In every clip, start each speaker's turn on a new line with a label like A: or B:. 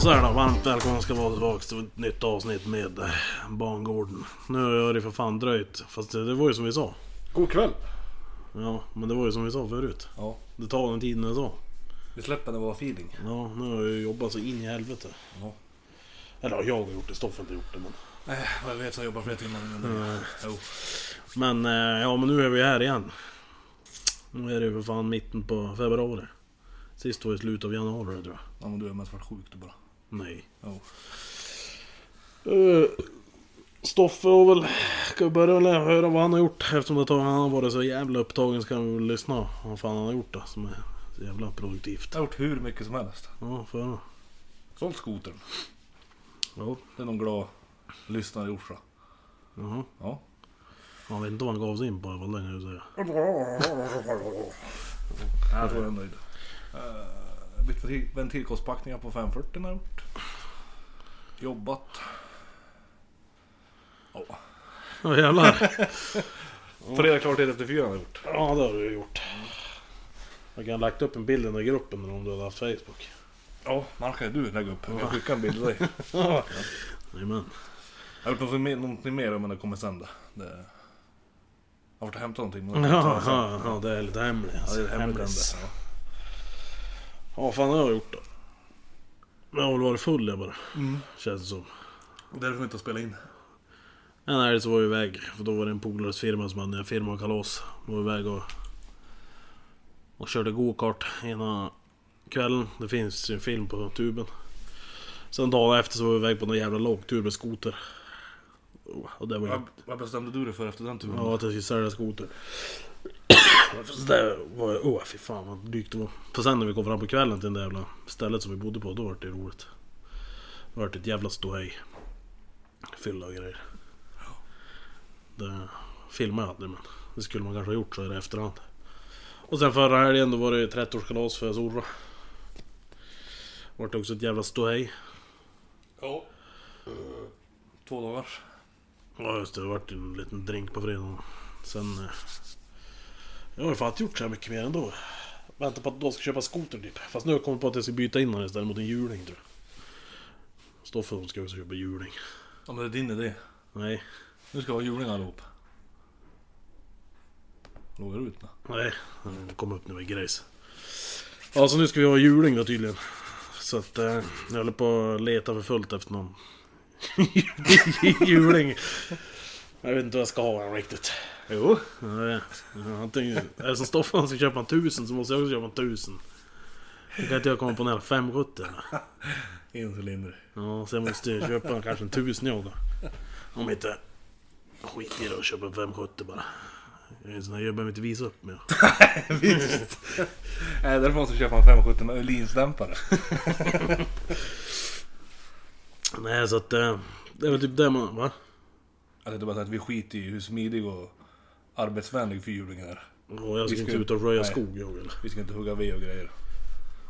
A: så här då, varmt välkomna ska vara tillbaka till ett nytt avsnitt med eh, Bangården. Nu har det för fan dröjt, fast det, det var ju som vi sa.
B: God kväll!
A: Ja, men det var ju som vi sa förut.
B: Ja,
A: Det tar den tiden det tar.
B: vi släpper när vi har feeling.
A: Ja, nu har jag ju jobbat så in i helvete.
B: Ja.
A: Eller ja, jag har gjort det, Stoffe har inte gjort det men...
B: Nej, jag vet jag jobbar flera timmar nu. Mm. Jo.
A: Men eh, ja, men nu är vi här igen. Nu är det ju för fan mitten på februari. Sist var det slutet av januari tror jag.
B: Ja, men du är mest varit sjuk du bara.
A: Nej.
B: Jo.
A: Eh, Stoffe har väl... Ska vi börja med att höra vad han har gjort? Eftersom det tar, han har varit så jävla upptagen så kan vi väl lyssna vad fan han har gjort då, som är så jävla produktivt.
B: Jag har gjort hur mycket som helst.
A: Ja, får höra.
B: Sålt skotern.
A: Ja.
B: Det är någon glad lyssnare i Orsa.
A: Jaha.
B: Ja.
A: Jag vet inte vad han gav sig in på i alla fall, det kan jag ju säga.
B: Jag tror jag är nöjd. Uh, bytt ventil- ventilkorspackningar på 540 har jag gjort. Jobbat. Ja.
A: Ja jävlar.
B: Fredag klart ett efter fyra har jag gjort.
A: Ja det har du ju gjort. Jag kan ha lagt upp en bild i den där gruppen om du hade haft Facebook.
B: Ja, man kan ju du lägga upp. Jag skickar en bild till dig.
A: Jajamän.
B: Jag har gjort någonting mer- någonting mer men det kommer sen då. det. Jag har varit och hämtat någonting men det kommer
A: Ja,
B: jag ta
A: ja, ja, det är lite hemligt.
B: sen. Ja, det är hemligt ändå.
A: Hemlis.
B: Ja.
A: Ja, vad fan har jag gjort då? Jag har väl varit full jag bara. Känns det som.
B: Och Därför vi inte spela in.
A: En helg så var jag iväg, för då var det en polares firma som hade en firma och kalas. Var iväg och, och körde go-kart ena kvällen. Det finns ju en film på tuben. Sen dagen efter så var jag iväg på någon jävla lågtur med skoter. Oh, Och det var ju...
B: Vad, vad bestämde du dig för efter den turen?
A: Ja, att jag skulle sälja skoter. Så där var jag... Åh fy fan vad drygt det var. För sen när vi kom fram på kvällen till det där jävla stället som vi bodde på, då var det roligt. Då var det ett jävla ståhej. Fylla och grejer. Det filmade jag aldrig men det skulle man kanske ha gjort så här i efterhand. Och sen förra helgen då var det ju 30-årskalas för Zorra. Vart det också ett jävla ståhej.
B: Ja. Eh, Två dagars.
A: Ja just det, det vart ju en liten drink på fredagen. Sen... eh, Jag har ju fan inte gjort så här mycket mer ändå. Väntar på att de ska köpa skoter typ. Fast nu har jag kommit på att jag ska byta in den istället mot en hjuling tror jag. Står för att de ska också köpa hjuling.
B: Ja men det är din idé.
A: Nej,
B: Nu ska vi ha juling allihop. Lågar du ut nu?
A: nej. Det Mm, kom upp nu med grejs. Ja, så nu ska vi ha hjuling då tydligen. Så att eh, jag håller på att leta för fullt efter någon hjuling. Jag vet inte vad jag ska ha än riktigt.
B: Jo.
A: Nej, ja, antingen, är det som Stoffan ska köpa en tusen så måste jag också köpa en tusen. Då kan inte jag komma på nära 570 eller?
B: En cylinder.
A: Ja, så jag måste ju köpa kanske en tusen jag då. Om inte... Skit i det och köpa en 570 bara. Jag är en sån här, jag behöver inte visa upp mig.
B: Visst. Nej därför måste vi köpa en 570 med Öhlins-dämpare.
A: Nej, så att... eh, Det är väl typ det man... Va?
B: Jag tänkte bara säga att vi skiter i hur smidig och arbetsvänlig fyrhjulingen är.
A: Och jag
B: Vi
A: ska inte
B: ska-
A: ut och röja
B: nej.
A: skog jag vill.
B: Vi ska inte hugga ved och grejer.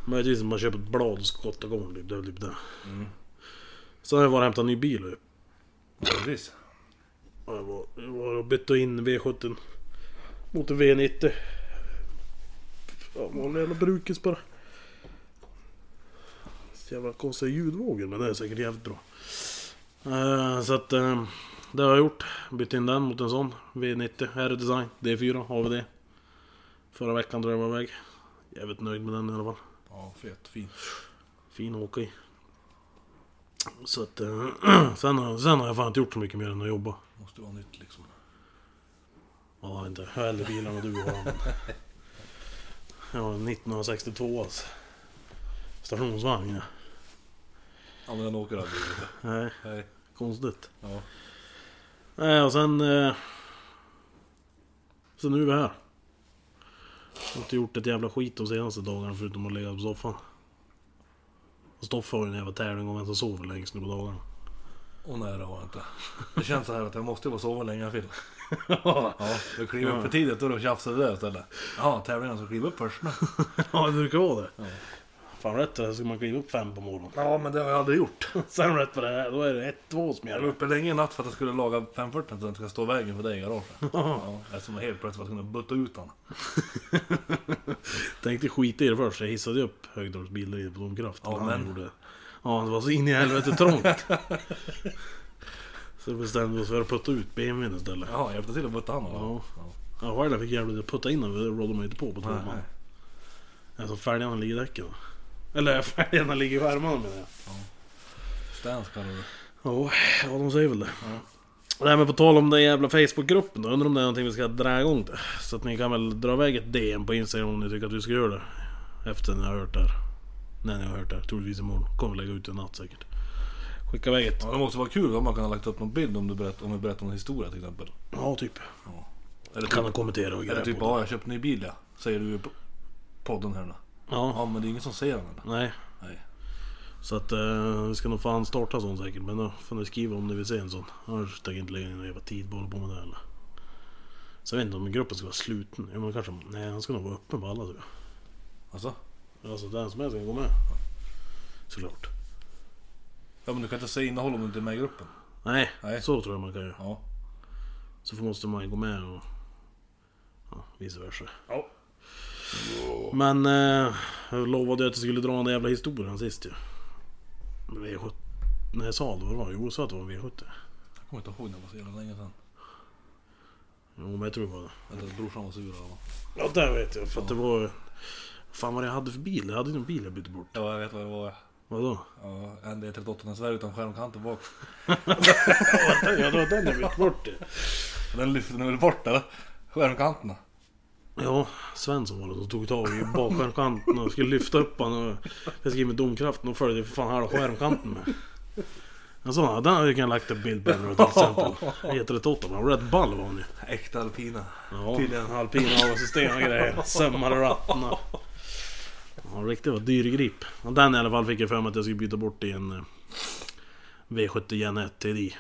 A: Möjligtvis om man köper ett blad och skottar igång typ. Det är väl typ det. Sen har jag varit och hämtat en ny bil. typ. ju.
B: Ja, precis.
A: Ja, Jag var, jag var och bytte in V70 mot en V90. Ja, Vanlig jävla brukis bara. Så jävla konstiga ljudvågor men det är säkert jävligt bra. Eh, så att eh, det har jag gjort. Bytt in den mot en sån. V90 R-design D4 AVD. Förra veckan drog jag mig iväg. Jävligt nöjd med den i alla fall.
B: Ja, fet, fin.
A: Fin att åka i. Så att eh, sen, har- sen har jag fan inte gjort så mycket mer än att jobba.
B: Måste vara nytt liksom.
A: Ja, inte. Jag har äldre bilar än vad du har. men- Jag har en 1962 alltså. Stationsvagn. ja.
B: Ja, men den åker aldrig lite.
A: Nej,
B: Nej.
A: konstigt.
B: Ja.
A: Nej, och sen... Eh, så nu är vi här. Jag har inte gjort ett jävla skit de senaste dagarna förutom att ligga på soffan. Och Stoffe har ju en jävla tävling om vem som sover längst nu på dagarna.
B: Och nej, det har jag inte. Det känns så här att jag måste vara sova länge Phil. Ja, jag kliver upp för tidigt och då tjafsar vi där istället. Jaha, tävlingen som kliver upp först nu.
A: Ja, det brukar vara det. Fan rätt för det ska man kliva upp fem på morgonen.
B: Ja, men det har jag aldrig gjort.
A: Sen rätt för det här, då är det ett, två som
B: Jag var
A: gäller.
B: uppe länge i natt för att jag skulle laga 540 så att den ska stå i vägen för dig i garaget. Ja, eftersom jag helt plötsligt var tvungen att butta ut den.
A: Tänkte skita i det först, jag hissade ju upp högdalsbilder på domkraft.
B: Ja,
A: men han
B: men-
A: gjorde Ja, det var så in i helvete trångt. så bestämde vi oss för att putta ut BMWn istället.
B: Jaha, hjälpte till att putta han eller?
A: Ja. Ja, själv fick jävligt putta in den, det rådde man inte på på två
B: Nej,
A: man.
B: nej.
A: Alltså fälgarna ligger i däcken. Eller fälgarna ligger i skärmarna menar jag.
B: Stance kallar du det.
A: Ja, ja de säger väl det. Nej men på tal om den jävla Facebookgruppen då, undrar om det är någonting vi ska dra igång det. Så att ni kan väl dra iväg ett DM på Instagram om ni tycker att vi ska göra det. Efter ni har hört det här. När ni har hört det här, troligtvis imorgon. Kommer lägga ut en natt säkert. Skicka iväg ett.
B: Ja, det måste vara kul om man kan ha lagt upp någon bild om, du berätt, om vi berättar någon historia till exempel.
A: Ja, typ.
B: Eller
A: Kan
B: typ,
A: ni kommentera och
B: eller
A: grejer
B: typ
A: på det.
B: ja, jag köpte en ny bil ja. Säger du på podden här nu.
A: Ja,
B: Ja, men det är ingen som säger den eller?
A: nej.
B: Nej.
A: Så att eh, vi ska nog fan starta sån säkert. Men då får ni skriva om ni vill se en sån. Annars tänker jag inte lägga ner någon jävla tid bara på med det eller. Så jag vet inte om gruppen ska vara sluten. Jo men kanske, nej den ska nog vara öppen på alla tror jag.
B: Alltså?
A: Alltså den som helst kan gå med. Såklart.
B: Ja men du kan inte säga innehåll om du inte är med i gruppen.
A: Nej,
B: Nej.
A: så tror jag man kan göra.
B: Ja.
A: Så får- måste man ju gå med och... Ja, vice versa.
B: Ja.
A: Men eh, jag lovade ju att jag skulle dra den där jävla historien sist ju. V70... När jag sa det, vad det var? Jo, jag sa att det var en V70.
B: Jag kommer inte ihåg när det var så jävla länge sedan.
A: Jo, men jag tror det var det.
B: Vänta, att brorsan var sur eller vad?
A: Ja, det vet jag. För att det var... Fan vad jag hade för bil. Jag hade ju någon bil jag bytte bort.
B: Ja, jag vet vad det var.
A: Vadå?
B: Ja, E en D38 den svär utan skärmkanten bak.
A: Ja, det var den jag bytte bort det.
B: Den lyfte den väl bort eller? Skärmkanterna.
A: Ja, Svensson var det som tog tag i bakskärmkanten och skulle lyfta upp honom. och Jag skrev med domkraften och följde för fan halva skärmkanten med. En sån här, den hade jag kunnat lagt en bild på nu till exempel. E38, men rätt ball var han ju.
B: Äkta alpina.
A: Ja,
B: Tydligen.
A: alpina avgassystem och grejer. Sömmar och ratten och... Ja, riktigt var dyr grip. Och Den i alla fall fick jag för mig att jag skulle byta bort i en eh, V70 Gen 1 TDI.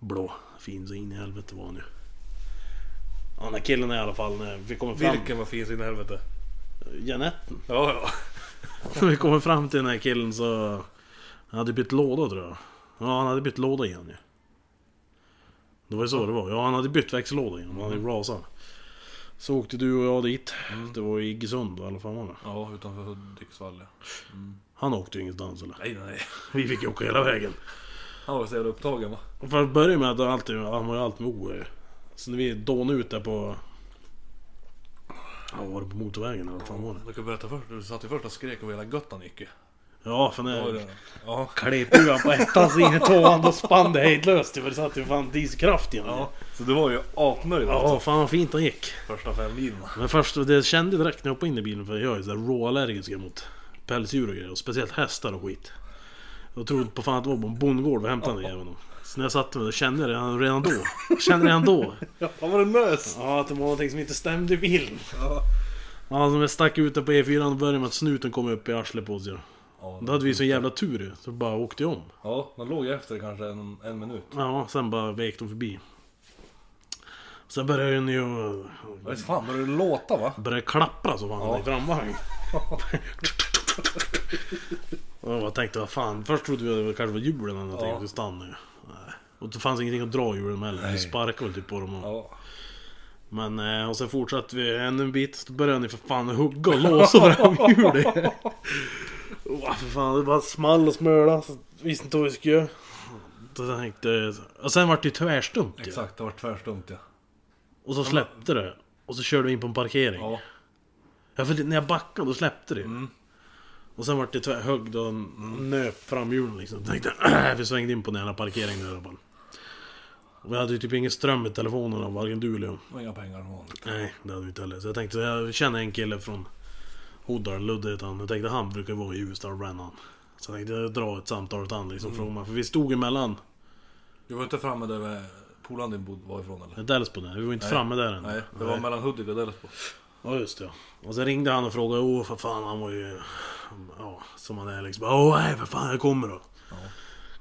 A: Blå. Fin så in i helvete var han ju. Ja, den här killen i alla fall, när vi kommer fram...
B: Vilken var fin sin helvete.
A: Janetten.
B: Ja, ja.
A: Vi kommer fram till den här killen så... Han hade bytt låda tror jag. Ja, han hade bytt låda igen ju. Det var ju så det var. Ja, han hade bytt växellåda igen. Han
B: Mm.
A: hade rasat. Så åkte du och jag dit. Det var i Iggesund och alla fan var det.
B: Ja, utanför Hudiksvall ja.
A: Han åkte ju ingenstans eller?
B: Nej, nej.
A: Vi fick ju åka hela vägen.
B: Han var så jävla upptagen va?
A: Och För att börja med att han alltid, han var ju alltid med O. eh. Så när vi dånade ut där på... Ja, vad var det på motorvägen eller vad fan var det?
B: Du kan berätta först. Du satt ju först och skrek över hela Göttan gick ju.
A: Ja, för
B: Ja,
A: när...
B: det- Ja.
A: Klep ur han på ettan så in i tvåan, då spann det hejdlöst. Det satt ju fan dieselkraft i honom.
B: ja. Så du var ju apnöjd
A: Ja,
B: alltså.
A: fan vad fint han gick.
B: Första fem milen.
A: Men först, det kände jag direkt när jag hoppade in i bilen för jag är så här råallergisk mot pälsdjur och grejer. Och speciellt hästar och skit. Jag trodde på fan att det var på en bondgård vi hämtade den jäveln. Så när jag satte mig då kände jag redan, redan då. Kände redan då.
B: Ja, var det nös?
A: Ja, att det var någonting som inte stämde i bilen. Ja, som jag stack ut där på E4 och började med att snuten kom upp i arslet på oss ju.
B: Ja,
A: Då hade vi så jävla tur ju, så bara åkte jag om.
B: ja man låg efter kanske en, en minut.
A: Ja, sen bara vek de förbi. Sen började den ju...
B: Vad fan började det låta va?
A: Började klappra så fan
B: Ja.
A: i framvagn. och jag bara tänkte vad fan, först trodde vi att det kanske var hjulen eller någonting,
B: Ja.
A: att det stannade ju. Nej. Och det fanns ingenting att dra hjulen med heller, vi
B: Nej.
A: sparkade väl typ på dem. Och...
B: Ja.
A: Men eh, och sen fortsatte vi ännu en bit, så började ni för fan hugga och låsa framhjulet. Åh för fan, det bara small och smöla. så Visste inte vad vi skulle göra. Då tänkte jag- Och sen vart det ju tvärstumt ju.
B: Exakt, det var tvärstumt ja.
A: Och så släppte det. Och så körde vi in på en parkering. Ja.
B: Ja.
A: för det- när jag backade då släppte det
B: Mm.
A: ju. Och sen vart det tvär- högg och nöp framhjulen liksom. Jag tänkte vi svängde in på den jävla parkeringen där i alla fall. Och vi hade ju typ ingen ström i telefonerna, varken du eller jag.
B: Det var inga pengar som vanligt.
A: Nej, det hade vi inte heller. Så jag tänkte, jag känner en kille från Hoddal, Ludde heter han. Jag tänkte han brukar vara i Ljusdal och Brännan. Så jag tänkte dra ett samtal åt han liksom
B: Mm.
A: fråga. För vi stod emellan
B: Du var inte framme där med polaren din bod var ifrån eller?
A: Delsbo där, vi var inte
B: Nej.
A: framme där än.
B: Nej, det var mellan Hudik och Delsbo.
A: Ja just det. ja. Och sen ringde han och frågade, åh för fan han var ju... Ja, som han är liksom. Åh nej för fan jag kommer då.
B: Ja.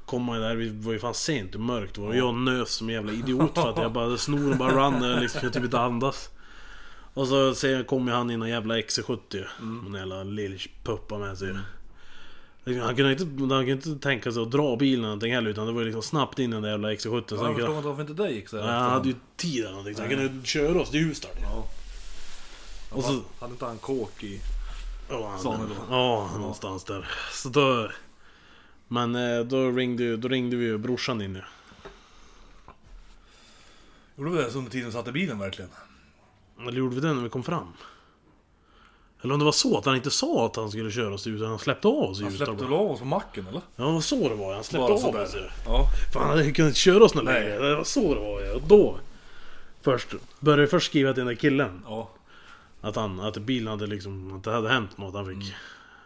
A: Kom man ju där, vi var ju fan sent, det var mörkt var det. Jag nös som en jävla idiot för att jag bara, snoren bara rann, jag liksom jag typ inte andas. Och så sen kom ju han in i någon jävla XC70 mm. Någon jävla lillpuppa med sig.
B: Mm.
A: Liksom, Han kunde, inte, han kunde inte tänka sig att dra bilen eller någonting heller utan det var ju liksom snabbt in i den där jävla XC70. så
B: Ja,
A: han,
B: jag förstår
A: kunde,
B: inte varför inte det gick så här
A: Ja, han
B: efterhand.
A: hade ju tid eller någonting så han kunde köra oss till Ljusdal.
B: Ja.
A: Och så-
B: Hade inte han kåk i...
A: Ja,
B: Sa
A: den-
B: ni då?
A: Ja, någonstans där. Så då... Men eh, då ringde, ju- då ringde vi ju brorsan in ju.
B: Gjorde vi det under tiden vi satt i bilen verkligen?
A: Eller gjorde vi det när vi kom fram? Eller om det var så att han inte sa att han skulle köra oss ut, utan han släppte av oss i
B: Han
A: Ljusdal
B: släppte
A: bara.
B: väl av oss på macken eller?
A: Ja, det var så det var. Han släppte
B: Bara
A: av
B: sådär.
A: oss ju.
B: Ja.
A: Fan, han hade ju kunnat köra oss något
B: Nej.
A: längre. Det var så det var ju. Och då... Först, började jag först skriva till den där killen.
B: Ja.
A: Att, han, att bilen hade liksom, att det hade hänt något. Han fick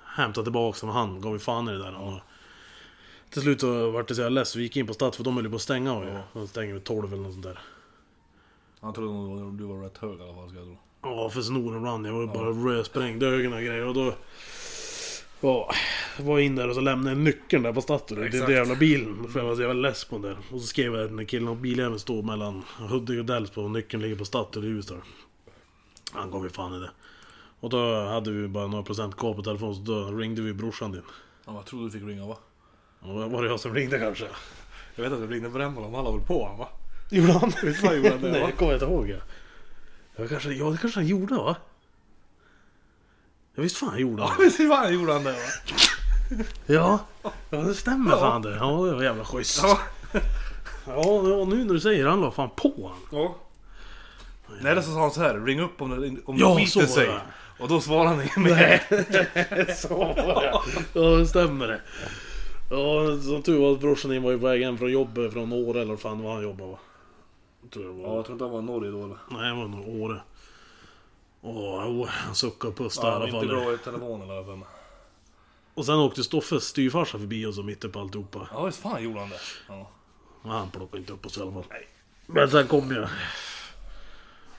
A: hämta tillbaka som han gav ju fan i det där. Och till slut så vart det så jag less så vi gick in på Stads för de höll ju på att stänga. Och ja. De stänger vid 12 eller något sånt där.
B: Han trodde nog du var- du var rätt hög i alla fall ska jag tro.
A: Ja, för snoren rann. Jag var bara rödsprängd i ögonen och grejer. Och då ja, var jag in där och så lämnade jag nyckeln där på Statoil. Det är
B: Exakt.
A: den jävla bilen. För jag var så jävla less på den där. Och så skrev jag till den killen och biljäveln står mellan Hudik och Delsbo och nyckeln ligger på Statoil i Ljusdal. Han gav ju fan i det. Och då hade vi bara några procent kvar på telefonen så då ringde vi brorsan din.
B: Ja, jag trodde du fick ringa va?
A: Och var det jag som ringde kanske?
B: Jag vet att jag ringde på den men han la väl på han va?
A: Gjorde han?
B: Visst fan gjorde han det,
A: Nej,
B: va?
A: det kommer jag inte ihåg. Ja, jag kanske, ja det kanske han gjorde va? Ja visst fan gjorde han det.
B: Visst fan gjorde han det va?
A: Ja, ja det stämmer fan det. Ja, det var jävla schysst. Ja,
B: Ja.
A: ja nu när du säger det, han la fan på han.
B: ja. Nej, det så sa han så här. Ring upp om det, om det
A: Ja, så
B: skiter
A: var
B: sig.
A: det.
B: Och då svarade han inte mer.
A: Så var det. Ja, det stämmer det. Ja, som tur var att brorsan din var ju på väg hem från jobbet från Åre eller vad fan var han jobbade va? Tror jag det var.
B: tror inte han var i Norge då eller?
A: Nej, det var nog Åre. Åh, oh, han suckade och
B: Ja,
A: pustade
B: han
A: i
B: var
A: alla
B: inte
A: fall.
B: bra i telefonen eller för mig.
A: Och sen åkte Stoffes styvfarsa förbi oss och mitt uppe alltihopa.
B: Ja, visst fan gjorde han det. Ja.
A: Men han plockade inte upp oss i alla fall. Men sen kom ju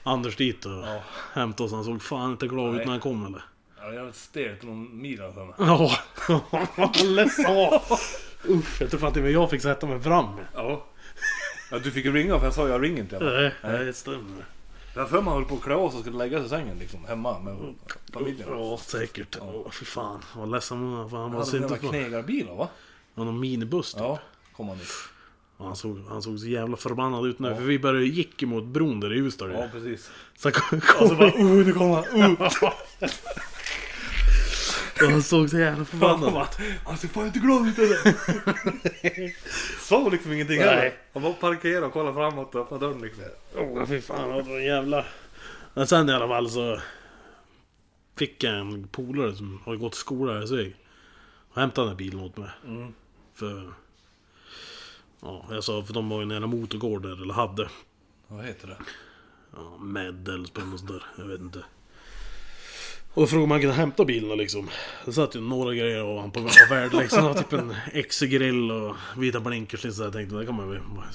A: Anders dit och
B: Ja.
A: hämtade oss. Han såg fan inte glad ut
B: Nej.
A: när han kom eller?
B: Ja, jag stelt någon mil har jag för mig.
A: Ja, ledsen var. Usch, jag tror fan till och med jag fick sätta mig fram.
B: Ja. ja. Du fick ju ringa för jag sa jag ringer inte. Jag
A: Nej, nej, det stämmer.
B: har för mig han höll på att klä av sig och skulle lägga sig i sängen liksom. Hemma med familjen.
A: Ja, säkert. Åh, fy fan. Vad ledsen man var. Han
B: Han
A: var
B: hade en
A: synd
B: jävla
A: att få... Det
B: knegarbil va?
A: var någon minibuss typ.
B: Ja, kom han dit.
A: Och Han, såg, han såg så jävla förbannad ut nu. För vi började gick emot bron där i Ljusdal.
B: Ja,
A: Ja.
B: precis.
A: Så kom, kom
B: bara oh, nu kommer han. Oh.
A: och han såg så jävla förbannad ut.
B: Han ser Alltså, fan inte glad ut eller? Sa liksom ingenting
A: Nej.
B: heller. Han bara parkerade och kollade framåt och öppnade dörren liksom.
A: Åh, fy fan. vad var jävla... Men sen i alla fall så... Fick jag en polare som har gått i skola här i Sveg. Och hämtade den här bilen åt mig. För... Ja, jag sa för de var ju en jävla motorgård där, eller hade.
B: Vad heter det?
A: Ja, med eller på något sånt där, jag vet inte. Och då frågade man om man kunde hämta bilarna liksom. Det satt ju några grejer och han på var värd liksom. Det var typ en exegrill och vita blinkers liksom. Så jag tänkte det kan man ju vara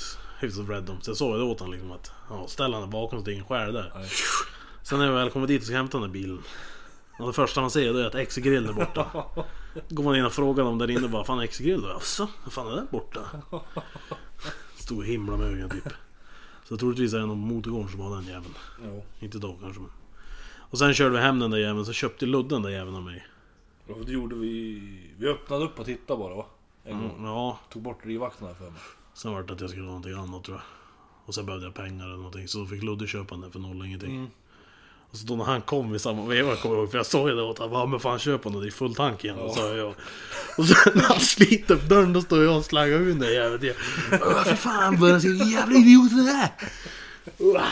A: hyfsat rädd om. Så jag sa ju det åt honom liksom att ja, ställ han bakom så det är ingen skär där.
B: Nej.
A: Sen när jag väl kommer dit och ska hämta den där bilen. Och det första man ser det är att exegrillen är borta. Går man in och frågar dem där inne bara Fan exegrill då? Jaså? Vad fan är den borta? Stod och himla med ögonen typ. Så troligtvis är det någon på motorgården som har den jäveln.
B: Jo.
A: Inte då kanske men. Och sen körde vi hem den där jäveln, så köpte Ludde den där jäveln av mig.
B: Och Det gjorde vi... Vi öppnade upp och tittade bara va? En gång.
A: Ja,
B: Tog bort drivvakten här för mig.
A: sen var det att jag skulle ha någonting annat tror jag. Och sen behövde jag pengar eller någonting, så då fick Ludde köpa den där för noll ingenting.
B: Mm.
A: Och så då när han kom i samma veva, kommer jag ihåg, för jag sa ju det åt honom, "Ja, men fan köp den, det är full tank igen. Och, så jag. och sen när han sliter upp dörren, då står jag och slaggar ur den där jäveln. Jag, "Åh, För fan, börjar se jävla idiot för det här! Uah.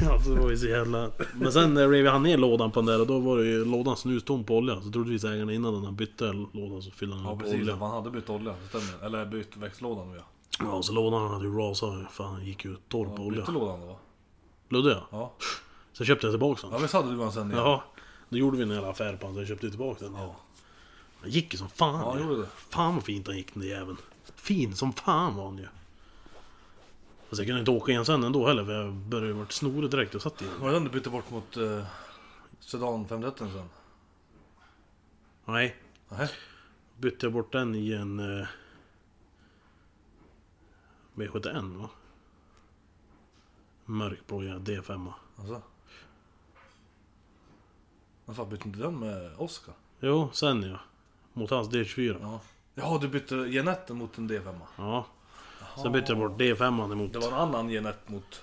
A: Ja, så det var ju så jävla... Men sen eh, rev han ner lådan på den där och då var det ju lådan snustom på olja. Så troligtvis ägaren innan den här bytte lådan så fyllde han
B: Ja
A: upp
B: precis,
A: olja.
B: han hade bytt olja, det stämmer. Eller bytt växellådan ja.
A: Ja, så lådan hade ju rasat. Fan, den gick ju torr på
B: ja
A: olja.
B: bytte lådan då va?
A: Ludde ja.
B: Ja.
A: Sen köpte jag tillbaka
B: Ja
A: den.
B: visst hade du en sen igen?
A: Ja. Då gjorde vi en jävla affär på den så jag köpte tillbaka den.
B: Ja.
A: Den gick ju som fan.
B: Ja,
A: ju.
B: gjorde det.
A: Fan vad fint han gick den där jäveln. Fin som fan var han ju. Fast jag kunde inte åka igen sen ändå heller för jag började ju vart snorig direkt och satt i den.
B: Var det den du bytte bort mot eh, Sedan 530 sen?
A: Nej,
B: Nej.
A: bytte jag bort den i en... Eh, V71 va? Mörkblå ja, D5.
B: Alltså. Varför bytte inte den med Oscar?
A: Jo, sen ja. Mot hans D24.
B: Ja. Ja, du bytte Jeanette mot en D5.
A: Ja. Sen bytte jag bort D5 emot...
B: Det var en annan Jeanette mot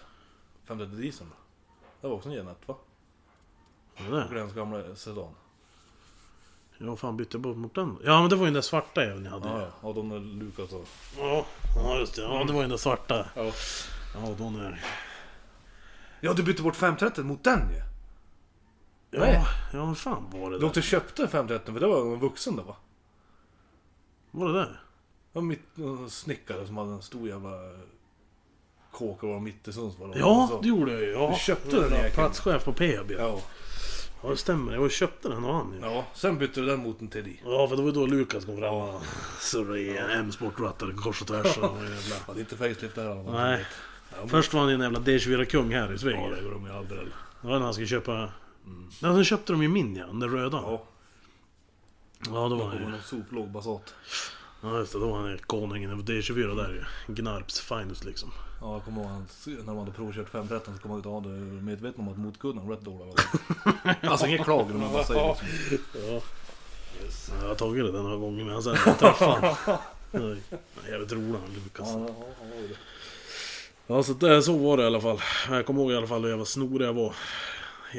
B: 530 dieseln. Det var också en Jeanette va?
A: Ja, det.
B: Grens gamla Sedan.
A: Ja, fan bytte jag bort mot den? Ja, men det var ju den där svarta jäveln jag hade.
B: Ja, Mm.
A: Ja,
B: ja. Och de där Lukas och...
A: ja. just det. Ja, det var ju den där svarta.
B: Ja.
A: Ja, de är...
B: ja, du bytte bort 530 mot den ju. Nej.
A: Ja, ja, vad fan var det
B: Du
A: där?
B: åkte och köpte 530 för det var en vuxen där va?
A: Var det där?
B: Det var mitt en snickare som hade en stor jävla eh, kåk och var mitt i Sundsvall.
A: Ja,
B: Så-
A: det gjorde jag ju. Ja.
B: Du köpte den
A: ja,
B: jäkeln.
A: Platschef på PB. Ja.
B: ja.
A: det stämmer. Jag var och köpte den av han ju. Ja.
B: Ja, sen bytte du den mot en TDI.
A: för det var ju då Lukas kom fram och surrade i en M-sportrattar kors och tvärs. Och jävla...
B: Ja, det är inte facelift där alla.
A: Nej. Först var han ju en jävla D24-kung här i Sveg.
B: Ja, det gjorde de ju aldrig heller.
A: Det var när han skulle köpa... Ja, sen köpte de ju min ja, den där röda. Ja,
B: Ja,
A: då
B: då
A: var
B: var
A: han
B: det
A: ju...
B: någon soplåg Basat.
A: Ja, just det, då var han ju konungen över D24 där ju. Gnarps finest liksom.
B: Ja, jag kommer ihåg han, när man hade provkört 513 så kom man ut och hade medveten om att motkudden var rätt dålig. Alltså inget klagomål, men bara säger liksom.
A: Ja. Ja, Jag har tagit det där några gånger men sen har jag träffat honom. Jävligt rolig han Lukas.
B: Ja, ja, ja, ja.
A: Ja, så, det, så var det i alla fall. Jag kommer ihåg i alla fall hur jag var snorig jag var.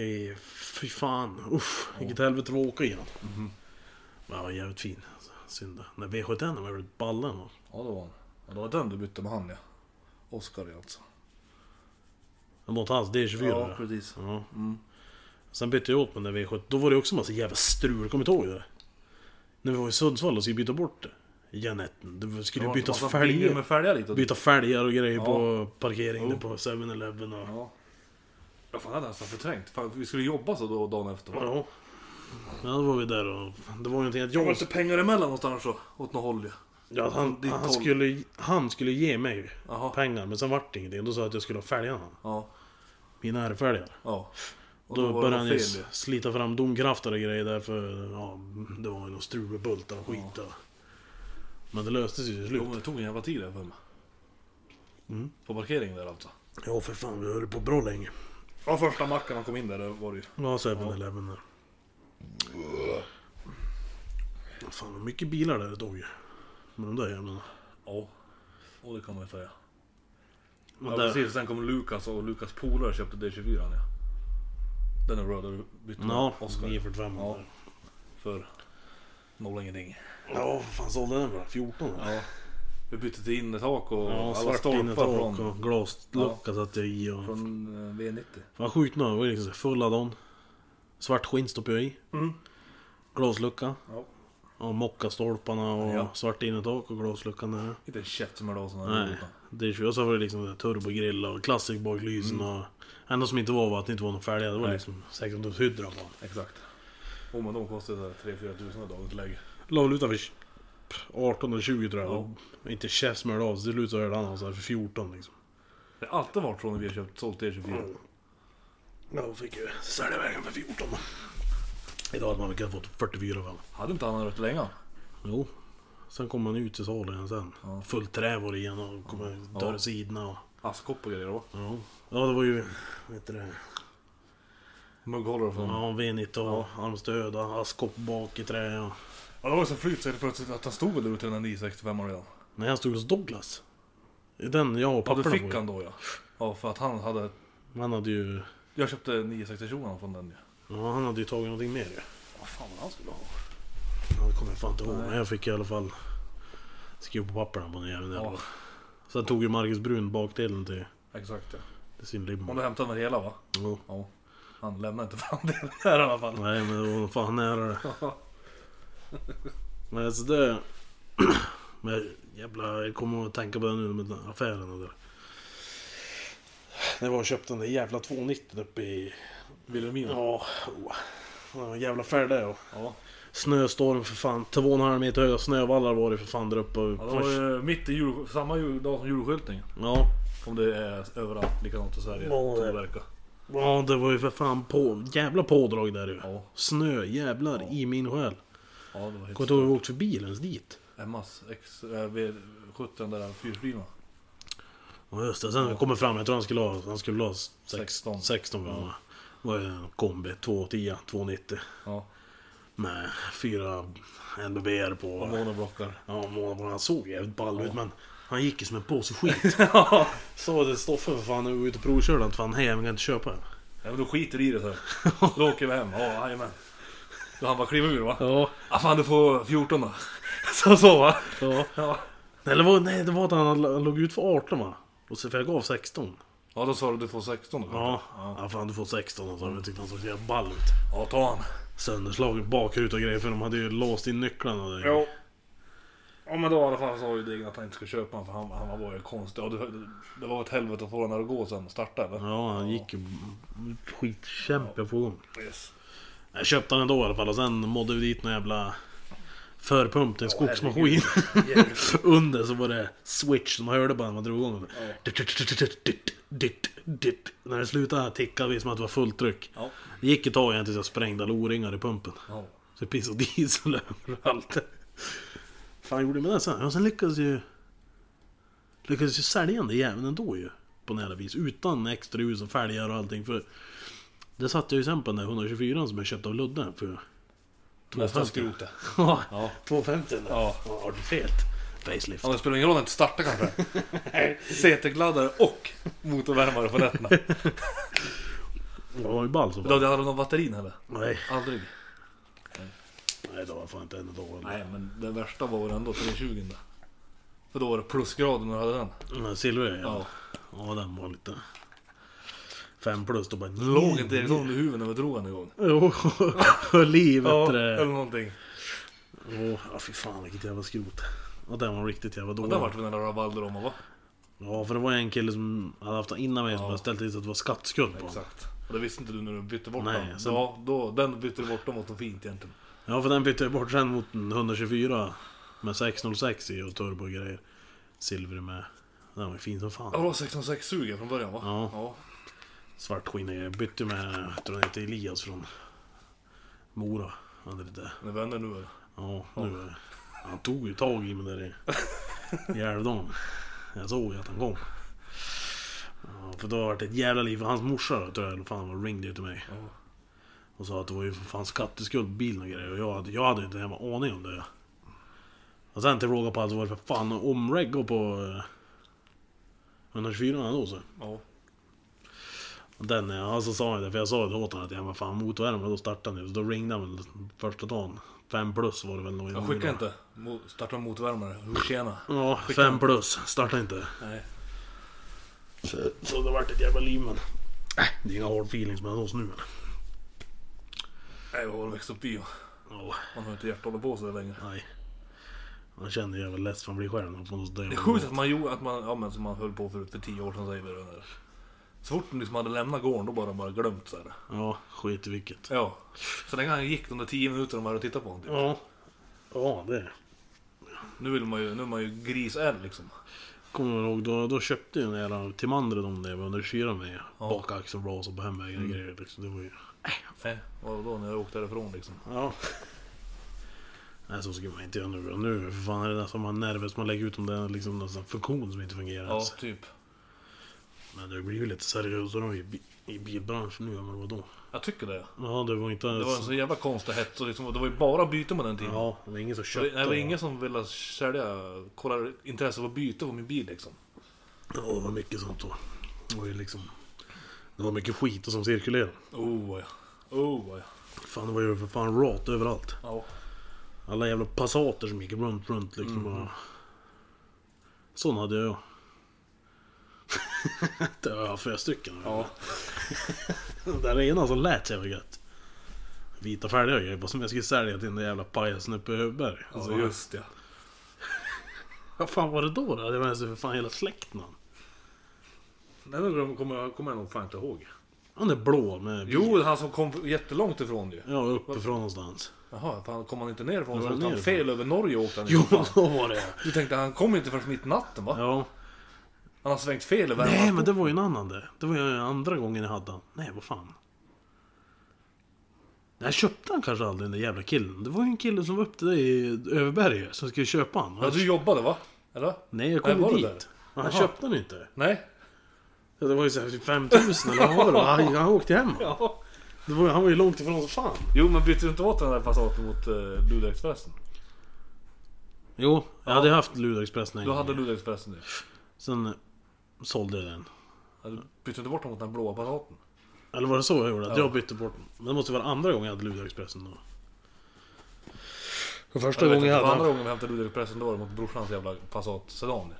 A: I, fy fan, usch. Vilket helvete det var att åka igenom.
B: Mhm.
A: Men han var jävligt fin. Alltså, synd det. När V71 var jävligt balla han var.
B: Ja, det var han. Ja, det var den du bytte med han ja. Oskar ja, alltså.
A: Mot hans D24.
B: Ja,
A: Ja,
B: precis.
A: ja.
B: Mm.
A: Sen bytte jag åt mig när V70. Då var det också en massa jävla strul. Kommer du inte ihåg det? När vi var i Sundsvall och skulle byta bort det. Genetten. Det skulle
B: Det
A: ju
B: var
A: byta
B: en massa bilder
A: fälgar.
B: alltså, med fälgar lite.
A: Byta fälgar och grejer
B: Ja.
A: på parkeringen
B: Jo.
A: på 7-Eleven och...
B: Ja. Jag fan, jag hade nästan förträngt. Fan, vi skulle jobba så då dagen efter. va?
A: Ja. Ja, då var vi där och... Det var ju någonting att
B: Det var
A: jag...
B: lite pengar emellan någonstans så, åt något håll ju.
A: Ja, att han,
B: Ditt
A: han,
B: håll.
A: skulle, han skulle ge mig
B: Jaha.
A: pengar, men sen vart det ingenting. Då sa jag att jag skulle ha fälgarna.
B: Ja.
A: Mina R-fälgar.
B: Ja. Och
A: Då, började han ju
B: ju.
A: s- slita fram domkrafter och grejer där för... Ja, det var ju någon strul med bultar och skit. Och. Men det löstes ju till slut.
B: Jo, men det tog en jävla tid där för mig.
A: Mm.
B: På parkeringen där alltså.
A: Ja, för fan. Vi höll på bra länge.
B: Ja, första macken han kom in där det var det ju.
A: Ja, 7-Eleven där. Fan, vad mycket bilar där det tog ju. Med de där jävlarna.
B: Ja. Och det kan man ju säga.
A: Men
B: ja,
A: där-
B: precis. Sen kom Lukas och Lukas polare köpte D24 ja. Den är röda du bytte med
A: Ja,
B: Oscar.
A: 945.
B: Ja.
A: Ja.
B: För noll ingenting.
A: ja, vad fan sålde den för? 14? Ja,
B: Ja. Vi bytte till innertak och
A: ja
B: alla
A: svart
B: stolpar
A: innertak
B: från,
A: och glaslucka satte jag i. Och...
B: från eh, V90.
A: Fan sjukt nog, det var liksom full add-on. Svart skinn stoppade jag i.
B: Mm.
A: Glaslucka.
B: Ja.
A: Och mockastolparna och
B: Ja.
A: svart innertak och glasluckan där.
B: Inte en käft som hörde av sådana
A: Nej. Det är ju så var det liksom där turbogrill och classic baklysen och... Enda som inte var var att det inte var någon färdiga. Det var
B: Nej.
A: liksom 16 tums hydra på.
B: Exakt. Och men de kostade 3-4 tusen i dagens läge.
A: La väl utanför 18 eller 20 tror jag.
B: Ja.
A: Och Inte käftsmällde av sig. Till slut så hörde han av sig för 14 liksom.
B: Det har alltid varit så när vi har köpt, sålt T24.
A: Mm. Ja, då fick ju sälja vägen för 14. Idag hade man väl kunnat fått 44 väl.
B: Hade inte han rätt länge?
A: Jo. Sen kom man ut till salen igen sen.
B: Ja.
A: Fullt trä var det igen och kom ut dörr
B: Ja.
A: sidorna och...
B: Askkopp och grejer då.
A: Ja. ja, det var ju... Vad heter det?
B: Mugghållare från... Ja.
A: Ja, V90 och armstöd och askkopp bak i trä och...
B: det var ju så flyt så helt plötsligt att han stod väl ute i den 965 redan.
A: Nej, han stod hos Douglas. Den jag och
B: Ja, du
A: papporna
B: fick
A: var ju.
B: han då ja. Ja, för att han hade...
A: Han hade ju...
B: Jag köpte 960 från den ju.
A: Ja, han hade ju tagit någonting mer ju.
B: Vad fan var det han skulle ha?
A: Ja, det kommer jag fan inte ihåg.
B: Nej.
A: Men jag fick i alla fall... Skriva på papperna på den jäveln.
B: Ja,
A: Ja. Sen tog ju Marcus Brun bakdelen till,
B: exakt ja.
A: till sin
B: Om
A: limo.
B: du hämtade väl hela va?
A: Ja.
B: Ja. Han lämnade inte fram det där i alla fall.
A: Nej men det var fan nära det. Men alltså det... Men jävla, jag kommer att tänka på det nu med den affären och det där. När jag var och köpte den där jävla 290 uppe i...
B: Vilhelmina?
A: Ja, oh. Det var en jävla färg där och
B: Ja.
A: Snöstorm för fan. Två och en halv meter höga snövallar var det för fan där uppe.
B: ja det var ju mitt i jul, samma jul, dag som julskyltningen.
A: Ja,
B: Om det är överallt likadant i Sverige.
A: Ja,
B: som
A: det-
B: det verkar.
A: ja, det var ju för fan på... Jävla pådrag där ju.
B: Ja.
A: Snö, jävlar
B: Ja.
A: i min själ.
B: Ja, det var helt
A: Kommer inte ihåg hur vi åkte förbi ens dit.
B: Emmas X, eh, V70 där fyrhjulsdrivna.
A: Ja just det, sen ja. kommer fram, jag tror han skulle ha, han skulle ha 16,
B: 16.
A: 16 mm. var ju en kombi, 210, 290
B: Ja,
A: med fyra NBBR på.
B: och monoblockar.
A: Ja, månaden han såg jävligt ball ut men han gick ju som en påse skit. Så var det Stoffe för fan, jag var ute och provkörde han, fan hej jag kan inte köpa den.
B: Nej men då skiter i det så här. Då åker vi hem. Ja, jajamän. Då han bara klev ur va?
A: Ja,
B: Ah, fan du får 14 då. Så så va?
A: ja.
B: Ja.
A: Nej, det var, nej, det var att han, han låg ut för 18 va? Och så, för jag gav 16.
B: Ja då sa du du får 16 då.
A: Ja, ja fan du får 16 och så. Jag tyckte han såg så jävla ball ut.
B: Ja ta han.
A: Sönderslagen bakruta och grejer för de hade ju låst in nycklarna. Där.
B: Jo. Ja men då i alla fall sa ju Degen att han inte skulle köpa honom för han, han var bara konstig. Ja, det, det var ett helvete att få honom att gå sen och starta eller?
A: Ja, han gick ju skitkämpiga på gång.
B: Yes.
A: Jag köpte den ändå i alla fall och sen mådde vi dit någon jävla förpump till en skogsmaskin. Under så var det switch som man hörde bara när man drog igång. den. När det slutade tickade vi som att det var fullt tryck.
B: Ja.
A: Det gick ett tag igen tills jag sprängde alla O-ringar i pumpen.
B: Ja.
A: Så det pissade diesel överallt. fan gjorde jag med det sen? Ja, sen lyckades ju... Lyckades ju sälja den där jäveln ändå ju. På nära vis. Utan extra ljus och fälgar och allting. För det satte jag ju sen på den där 124 som jag köpte av Ludde. För...
B: Nästan skrotet.
A: Ja,
B: Ja.
A: 250 där.
B: Ja.
A: Ja, har du fet? Facelift.
B: Ja, men det spelar ingen roll att inte starta kanske. CT-gladdare och motorvärmare på nätterna.
A: Det var ju ball som
B: Då hade
A: fan.
B: jag aldrig någon batterin heller.
A: Nej,
B: Aldrig.
A: nej det var fan inte en dag.
B: Nej, men den värsta var väl ändå 320 där. För då var det plusgrader när du hade den.
A: Men silver ja.
B: Ja.
A: Ja, den var lite... Fem plus då bara...
B: Låg inte Eriksson i huvudet när vi drog den igång?
A: Jo, höll i vet du
B: eller
A: det.
B: någonting.
A: Åh, ja fy fan vilket jävla skrot. Och den var riktigt jävla
B: Och
A: dålig.
B: där vart vi några rabalder om va?
A: Ja, för det var en kille som hade haft den innan mig som
B: Ja.
A: hade ställt dit att det var skattskuld på honom.
B: Exakt. Och det visste inte du när du bytte bort
A: Nej,
B: den.
A: sen-
B: Ja, då, den bytte du bort den mot något fint egentligen.
A: Ja, för den bytte jag bort sen mot en 124 med 606 i och turbo och grejer. Silver med. Den var ju fin som fan.
B: Ja, det var 606 suger från början va?
A: Ja.
B: ja.
A: Svart skinn och grejer. Bytte med, jag tror han heter Elias från Mora. Han är lite...
B: Det vänder nu eller?
A: Ja, nu är det. Han tog ju tag i mig där i i Älvdalen. Jag såg ju att han kom. Ja, för då var det ett jävla liv. För hans morsa då, tror jag, eller fan vad ringde ju till mig.
B: Ja.
A: Och sa att det var ju för fan skatteskuld på bilen och grejer. Och jag hade, jag hade ju inte en jävla aning om det. Och sen till råga på allt så var det för fan omreggo på... eh, 124 då så.
B: Ja.
A: Den, eh, han så sa han det, för jag sa det åt honom att jag var fan motorvärmare, då startade han ju. Så då ringde han väl första dagen. Fem plus var det väl nog. i
B: Jag
A: de
B: skickar
A: bilarna.
B: inte. Mo- Starta motorvärmare. Jo, Tjena.
A: Ja,
B: Skicka
A: fem
B: den.
A: plus. Starta inte.
B: Nej.
A: Så det vart ett jävla liv men... Äh, det är inga hard feelings mellan oss nu men...
B: Nej, vad har du växt upp i?
A: Ja,
B: Man har inte hjärta att hålla på så längre.
A: nej. Man känner ju jävla less för man blir själv när man får något
B: Det är sjukt att man gjorde att man, ja men som man höll på förut för tio år sedan säger vi det där. Så fort man liksom hade lämnat gården då bara bara glömt så här.
A: Ja, skit i vilket.
B: Ja. Så länge han gick de där tio minuterna man hade tittat på honom typ.
A: Ja. Ja, det...
B: Nu vill man ju, nu är man ju grisärd liksom.
A: Kommer jag ihåg, då, då köpte ju en jävla Timander de där under kyran med
B: Ja.
A: bakaxel och bras och på hemvägen och grejer liksom. Det var ju...
B: Nej, Eh, vad då när jag åkte därifrån liksom.
A: Ja. Nej, så skulle man inte göra nu. Nu för fan är det nästan man är nervös. Man lägger ut om det är liksom någon sån här funktion som inte fungerar
B: Ja,
A: ens.
B: typ.
A: Men det blir ju lite seriösare i, bi- i bilbranschen nu än vad det var då.
B: Jag tycker det.
A: Ja, det var inte
B: Det
A: ens...
B: var en så jävla konstig hets och liksom, det var ju bara byten på den tiden.
A: Ja, det var ingen som
B: Det
A: köpte.
B: var- Det var ingen som ville sälja, kolla intresse på byte på min bil liksom.
A: Ja, det var mycket sånt då. Det var ju liksom... Det var mycket skit som cirkulerade.
B: Oh ja. Oh ja.
A: Fan, det var ju för fan rat överallt.
B: Ja.
A: Alla jävla Passater som gick runt, runt liksom
B: Mm.
A: bara... Sån hade jag. det var jag flera stycken.
B: Ja.
A: Den ena som lät jävligt gött. Vita färdiga grejer, bara som jag skulle sälja till den där jävla pajasen uppe i Högberg.
B: Ja,
A: Alltså,
B: just det.
A: Vad fan var det då? då? Det var ju för fan hela släkten. han.
B: Nej, men kommer jag, kommer jag nog fan inte ihåg.
A: Han är blå med...
B: Jo, han som kom jättelångt ifrån ju.
A: Ja, uppifrån någonstans.
B: Jaha, fan, kom han inte nerifrån?
A: Var
B: Så
A: han
B: åkte han
A: nerifrån?
B: fel över Norge åkte han
A: Jo,
B: ifrån.
A: då var det
B: Du tänkte han kom inte förrän mitt i natten va?
A: ja.
B: Han har svängt fel över
A: Nej,
B: Värmland.
A: men det var ju en annan det. Det var ju andra gången jag hade han. Nej, vad fan. Nej, köpte han kanske aldrig den där jävla killen. Det var ju en kille som var upp till dig i Överberg som skulle köpa han.
B: Ja, du jobbade va? Eller?
A: Nej, jag
B: Nej,
A: kom
B: var
A: ju
B: det
A: dit.
B: där?
A: Men han
B: Jaha.
A: köpte den inte.
B: Nej?
A: Ja, Det var ju såhär 5000 eller vad var det? Han, han åkte hem.
B: Ja.
A: Det var, ju- han var ju långt ifrån som fan.
B: Jo, men bytte du inte åt den där Passaten mot uh, Luleå-Expressen?
A: Jo, jag hade haft Luleå Express
B: Du hade
A: länge.
B: Luleå-Expressen ju.
A: Sen eh, sålde jag den.
B: Ja, Du bytte inte bort den mot den blåa Passaten?
A: Eller var det så jag gjorde? Att
B: Ja.
A: jag bytte bort Men det måste vara andra gången jag hade Luleå Expressen då. Den första gången jag
B: hade
A: hade
B: Andra
A: den.
B: gången vi hämtade Ludvigpressen då var det mot brorsans jävla Passat Sedan.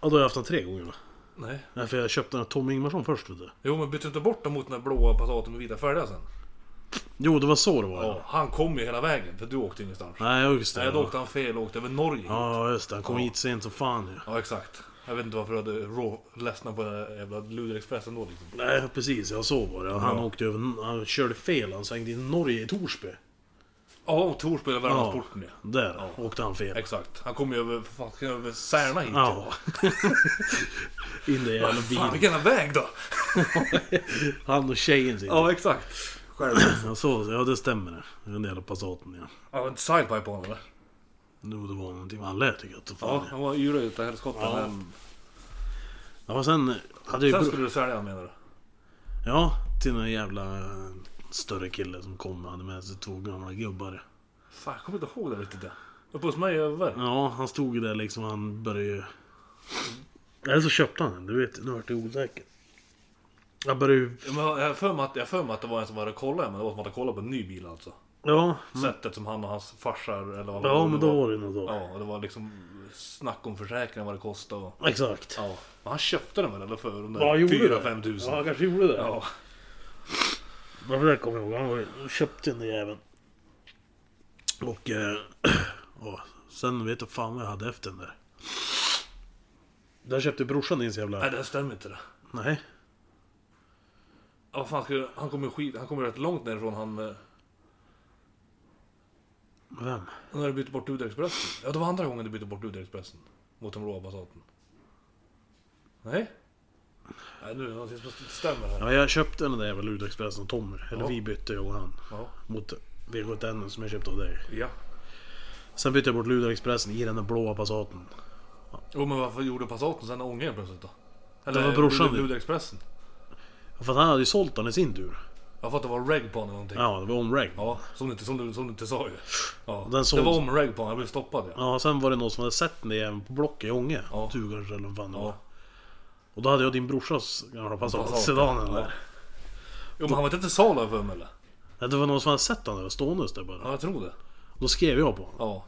A: Ja, då har jag haft den tre gånger va?
B: Nej.
A: Nej, för jag köpte den av Tommy Ingmarsson först vet du.
B: Jo men bytte du inte bort dem mot den där blåa Passaten med vita fälgar sen?
A: Jo, det var så det var
B: Ja.
A: ja.
B: Han kom ju hela vägen för du åkte ingenstans.
A: Nej, ja, just det.
B: Nej då
A: ja.
B: åkte han fel och åkte över Norge. Ja,
A: Ja, just det. Han kom hit sent som fan ju.
B: exakt. Jag vet inte varför du hade rå ledsna på den där jävla Ludvigpressen då liksom.
A: Nej, precis. Jag såg var det. Han
B: Ja.
A: åkte över... Han körde fel. Han svängde in i Norge, i Torsby.
B: Ja och Torsby eller
A: Ja.
B: Värmlandsporten ja.
A: Där åkte han fel.
B: Exakt. Han kom ju över, för fan, över Särna hit. Ja.
A: Ja. in i jävla
B: Fan
A: bilen.
B: vilken jävla väg då!
A: Han och tjejen sitter.
B: Ja exakt. Själv.
A: Ja, så, ja det stämmer det. Den jävla Passaten ja.
B: Han var inte sidepipe på honom eller?
A: Jo, det var någonting. Han lät ju gött.
B: Ja,
A: Ja.
B: han var yra utav helskotta.
A: Ja.
B: Ja.
A: ja, och sen hade jag
B: Sen
A: ju...
B: skulle du sälja han menar du?
A: Ja, till någon jävla eh, större kille som kom och hade med sig två gamla gubbar.
B: Fan, jag kommer inte ihåg det riktigt. det. Uppe hos mig över.
A: Ja, han stod ju där liksom och han började ju... Eller så köpte han den, du vet. Nu vart det osäker. Jag började ju...
B: Ja, men Jag har för mig att- jag har för mig att det var en som hade kollat, men det var som att han kollat på en ny bil alltså.
A: Ja,
B: Sättet som han och hans farsar eller vad
A: ja men då
B: var.
A: var det nog då.
B: Ja, och det var liksom snack om försäkringen, vad det kostade och...
A: Exakt.
B: Ja. Men han köpte den väl eller för de
A: Ja, han
B: där
A: gjorde
B: fyra
A: det.
B: fem tusen?
A: Ja, han kanske gjorde det.
B: Ja.
A: Varför det kommer jag ihåg. Han var ju- han köpte den där jäveln. Och... Eh, ja, sen vet jag fan vad jag hade efter den där. Där köpte brorsan din så jävla...
B: Nej, det här stämmer inte det.
A: Nej.
B: Ja, vad fan skulle... Han kommer ju skit... Han kommer ju rätt långt nerifrån han... eh,
A: Vem?
B: När du bytte bort Uderexpressen. Ja, det var andra gången du bytte bort Uderexpressen. Mot den blåa Passaten. Nej? Nej, nu är det någonting som inte stämmer här.
A: Ja, jag köpte den där jävla Ludexpressen av Tommy. Eller
B: Ja.
A: vi bytte, jag och han.
B: Ja.
A: Mot V71 som jag köpte av dig.
B: Ja.
A: Sen bytte jag bort Ludexpressen i den där blåa Passaten.
B: Jo men varför gjorde Passaten sen ången plötsligt då? Eller
A: Det var brorsan
B: Luleå-
A: ju.
B: Luleå Expressen?
A: För att han hade ju sålt den i sin tur.
B: Jag fattar det var reg på honom eller någonting. Ja.
A: Ja, det var omreg. Ja.
B: som, du, inte- som, du, som du inte sa ju. Ja.
A: Den såg-
B: Det var om reg på honom, jag blev stoppad ja.
A: sen var det någon som hade sett den där jäveln på Blocket i Ånge.
B: Ja.
A: Du kanske eller vad fan det var.
B: ja.
A: Och då hade jag din brorsas gamla Passat,
B: Passat,
A: sedanen
B: ja.
A: där.
B: Jo men han var inte till salu har jag för mig eller?
A: Nej, Det var någon som hade sett den där ståendes där bara.
B: Ja jag tror det.
A: Då skrev jag på honom.
B: Ja.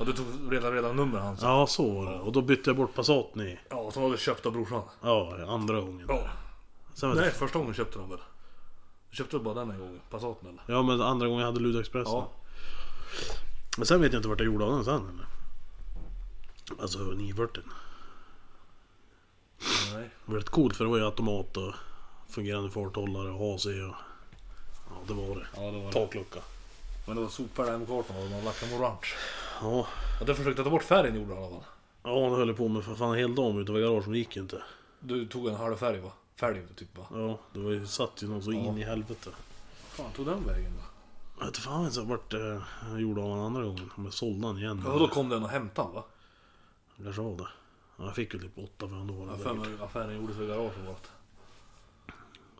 B: Och du tog redan, redan numret hans. Ja.
A: Ja, så var det. Och då bytte jag bort Passaten i...
B: ja som var väl köpt av brorsan.
A: Ja, andra gången.
B: Ja.
A: Sen vet
B: Nej
A: jag,
B: första gången köpte de väl? Du köpte väl bara den en gång? Passaten eller?
A: ja, men andra gången jag hade Ludexpressen.
B: Ja.
A: Men sen vet jag inte vart jag gjorde av den sen eller? Alltså 940.
B: Nej.
A: Det var rätt coolt för det var ju automat och fungerande farthållare och AC och... Ja det var det.
B: Ja det var det.
A: Taklucka.
B: Men det var sopar där M-kartan och de hade lagt dem orange.
A: Ja.
B: Och det försökte jag ta bort färgen gjorde han i alla fall.
A: Ja han höll ju på med för fan en hel dag utanför garaget men det gick ju inte.
B: Du tog en halv färg va? Fälg typ va?
A: Ja det var ju, satt ju någon så in i helvete.
B: fan tog den vägen då?
A: Jag vet fan ens vart eh, jag gjorde av den andra gången. Om jag sålde den igen.
B: Ja, då kom den och hämtade han va?
A: Jag kanske var det. Ja, jag fick ju typ åtta för ändå.
B: Jag har för mig att affären gjordes vid garaget vårt.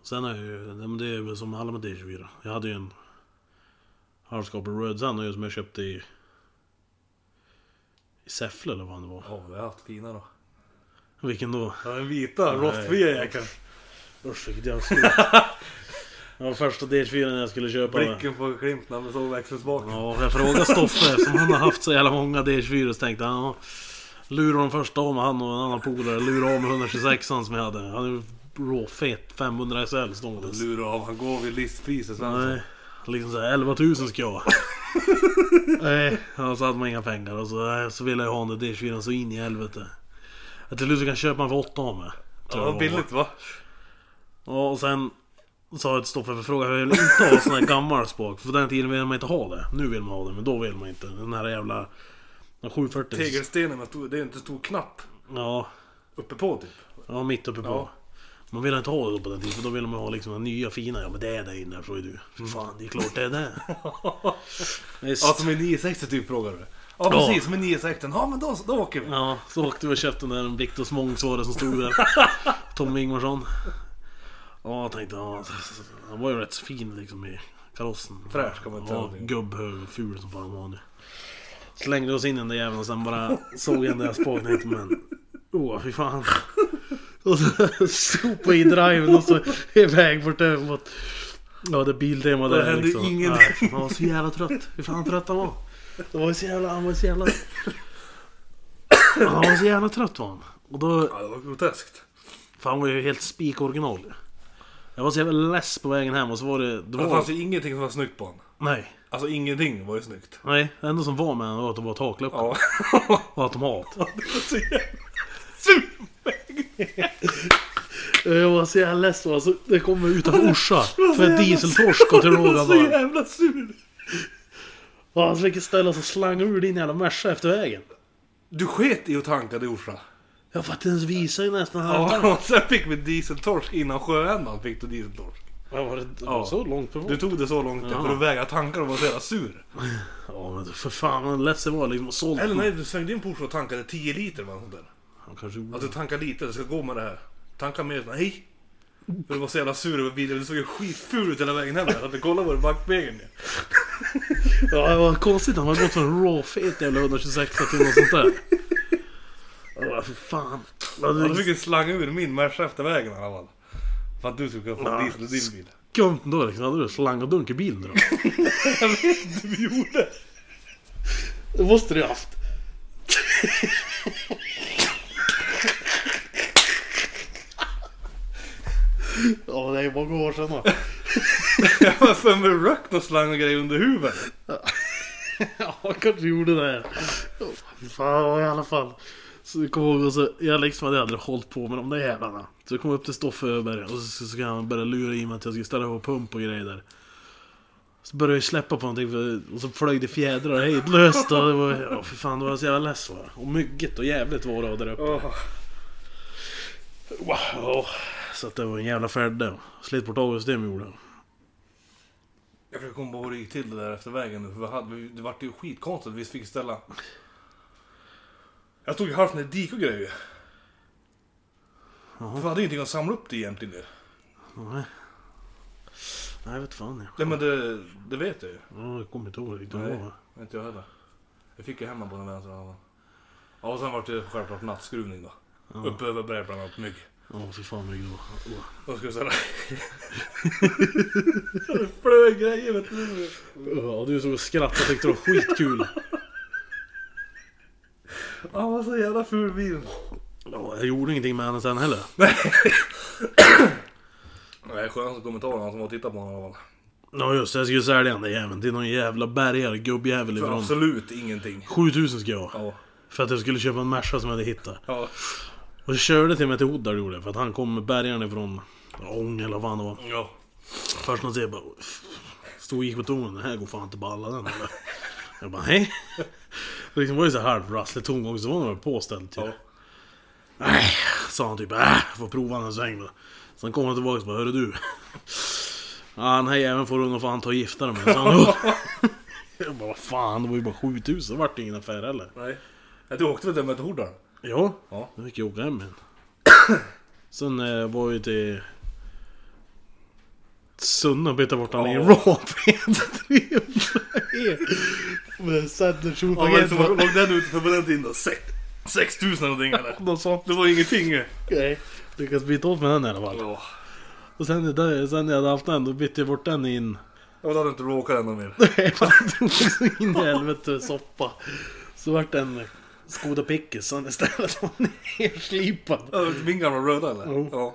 A: Sen är ju, ja, men det är väl som alla med D24. Jag hade ju en halvskaplig Röd Sun som jag köpte i... I Säffle eller vad det var.
B: Ja, vi har haft fina då.
A: Vilken då?
B: Ja, den vita
A: rostfria
B: jäkeln.
A: Usch vilket jävla skit. Det var första D24 jag skulle köpa.
B: Blicken på Klimt när man såg växelsmak.
A: Ja, jag frågade Stoffe eftersom han har haft så jävla många D24 så tänkte han... ja, Lurar de första av med han och en annan polare. Lurar av med 126an som jag hade. Han är ju råfet 500 SL stående.
B: Lura av, han går vid listpriset Svensson.
A: Nej. Liksom såhär 11 000 ska jag ha. Nej, och så hade man inga pengar och så, nej, så ville jag ha den där D24 så in i helvete. Att till slut så kan jag köpa den för 8 av mig.
B: Ja,
A: tror
B: det
A: jag
B: var
A: var.
B: billigt va?
A: Ja, och sen sa jag till Stoffe för fråga, jag vill inte ha sån här gammal spak. För på den tiden ville man inte ha det. Nu vill man ha det, men då vill man inte. Den här jävla... Den 740.
B: Tegelstenen, med stor, det är inte en stor knapp
A: Ja,
B: uppe på typ.
A: ja, mitt uppe på.
B: Ja.
A: Man ville inte ha det då på den tiden, för då ville man ha liksom den nya fina. Ja men det är där inne, så är du. Fy Fan, det är klart det är det. Visst.
B: Ja, som en 960 typ frågar du. Ja, precis. Som en 960. Ja, men då, då åker vi.
A: Ja, så åkte vi och köpte den där Viktor Mångs var det som stod där. Tommy Ingvarsson. Ja, jag tänkte, ja, han var ju rätt fin liksom i karossen.
B: Fräsch kan man inte
A: Ja,
B: säga.
A: gubbhög och ful som fan var nu. Slängde oss in i den där jäveln och sen bara såg jag den där spaken och tänkte, men... Åh, fy fan. Och så sopade i driven och så iväg bort över mot... Ja, det Biltema där
B: hände
A: liksom.
B: ingenting.
A: Nej, han var så jävla trött. Hur fan trött han var. Det var ju så jävla... Han var så jävla... Han var så jävla trött var han. Och då...
B: Ja, det var groteskt.
A: För han var ju helt spikoriginal. Jag var så jävla less på vägen hem och så var det... det
B: Det
A: var,
B: fanns ju ingenting som var snyggt på honom.
A: nej.
B: Alltså ingenting var ju snyggt.
A: Nej, det enda som var med honom var att de var taklucka
B: Ja.
A: och automat.
B: Så jävla-
A: Jag var så jävla less på alltså, Det kom utanför Orsa. För en dieseltorsk och till råga
B: så
A: var.
B: jävla sur.
A: Och han fick ställa sig och slanga ur din jävla Merca efter vägen.
B: Du sket i att tanka det i Orsa.
A: Jag fattar inte ens visa ju nästan halvtank.
B: Ja, och sen fick vi dieseltorsk innan sjöändan fick du dieseltorsk.
A: Ja. Var det, var det så långt på
B: Du tog det så långt för att väga tankar och var så jävla sur.
A: Ja men för fan vad less det var liksom. och Sålt.
B: Eller nej, du svängde in på Orsa och tankade 10 liter eller något sånt där.
A: Han kanske gjorde
B: Att du tankar lite, det ska gå med det här. Tanka mer, nej. För du var så jävla sur över bilen, du såg ju skitful ut hela vägen hem. Jag hade kollat på dig i backspegeln.
A: Ja, det var konstigt. Han hade gått från råfet jävla 126 till något sånt där. Ja, för fan. Ja,
B: Ja, du
A: det
B: fick ju slanga ur min Merca efter vägen i alla fall. För att du skulle kunna få
A: Ja.
B: diesel i din bil.
A: skumt då liksom. Hade du slang och dunk i bilen då?
B: Jag vet inte vi gjorde.
A: Det måste du ju haft. Ja, men det är många år sedan då.
B: Jag har för mig rökt och slang och grejer under huven.
A: Ja, jag kanske gjorde det. Fan i alla fall. Så jag kommer ihåg och så, jag liksom hade aldrig hållit på med de där jävlarna. Så jag kom upp till Stoffe Öberg och så ska han börja lura i mig att jag ska ställa på pump och grejer där. Så började jag släppa på någonting för, och så flög det fjädrar hejdlöst och det var, ja för fan det var så jävla less va. Och myggigt och jävligt var det där uppe.
B: Åh.
A: Wow. Så att det var en jävla färd det. Slet bort avgassystem gjorde jag.
B: Jag försöker komma ihåg hur det gick till det där efter vägen nu. För vi hade, vi- det vart ju skitkonstigt. Vi fick ställa... Jag tog ju halvt ner dik och grejer. För vi hade ju ingenting att samla upp det egentligen. ju.
A: Nej. Nej vet fan jag.
B: Nej men det, det vet jag ju.
A: Ja, jag kommer inte ihåg riktigt vad det var.
B: Inte jag heller. Jag fick ju hemma på den vänstern. Ja, och sen vart det självklart nattskruvning då. Uppe över berg bland annat mygg.
A: Ja fy fan mygg det var. Åh.
B: Vad ska jag säga? det flög grejer vet du.
A: Ja, du såg och skrattade och tyckte det var skitkul.
B: Han var så jävla ful bil.
A: Ja, jag gjorde ingenting med henne sen heller.
B: Nej, skönaste kommentaren han som var och tittade på honom i alla fall.
A: Ja just det, jag skulle sälja den där jäveln till någon jävla bärgare, gubbjävel
B: För
A: ifrån.
B: absolut ingenting.
A: 7000 ska jag ha.
B: Ja.
A: För att jag skulle köpa en Merca som jag hade hittat.
B: Ja.
A: Och jag körde till mig till Hoddar gjorde jag, för att han kom med bärgaren ifrån Ånge eller vad fan det var.
B: ja.
A: Först när jag bara... Stod och gick på tonen, den här går fan inte balla den eller? Jag bara hej. Det liksom var ju så här halvrasslig tongång, så var den väl påställd typ.
B: Ja.
A: Nej, sa han typ. Äh, får prova den en sväng då. Sen kom han tillbaka och bara, hörru du. Ja, den här jäveln får du nog fan ta och gifta dig med. Så han upp. Jag bara, vad fan, det var ju bara 7000, det vart ju ingen affär heller.
B: Nej. Ja, Du åkte väl den med till Hordan?
A: Ja,
B: Ja.
A: då fick jag åka hem igen. Sen eh, var jag till... Sunne och bytte bort han i en
B: Ja.
A: Råved 300 E. Med
B: Ja, men
A: saddelsjorpaket.
B: så låg den ute för på den tiden då? Sex- 6000 någonting eller?
A: De sa
B: Det var ingenting ju.
A: nej. Lyckades byta åt med den i alla fall.
B: Ja.
A: Och sen, det där- sen när jag hade haft den, då bytte jag bort den i en...
B: Då hade du inte råkat ännu mer.
A: Nej, man drog så in i helvete soppa. Så vart den Skoda Pickis han istället som nerslipad.
B: Ja, Min gamla röda eller?
A: Jo.
B: Ja.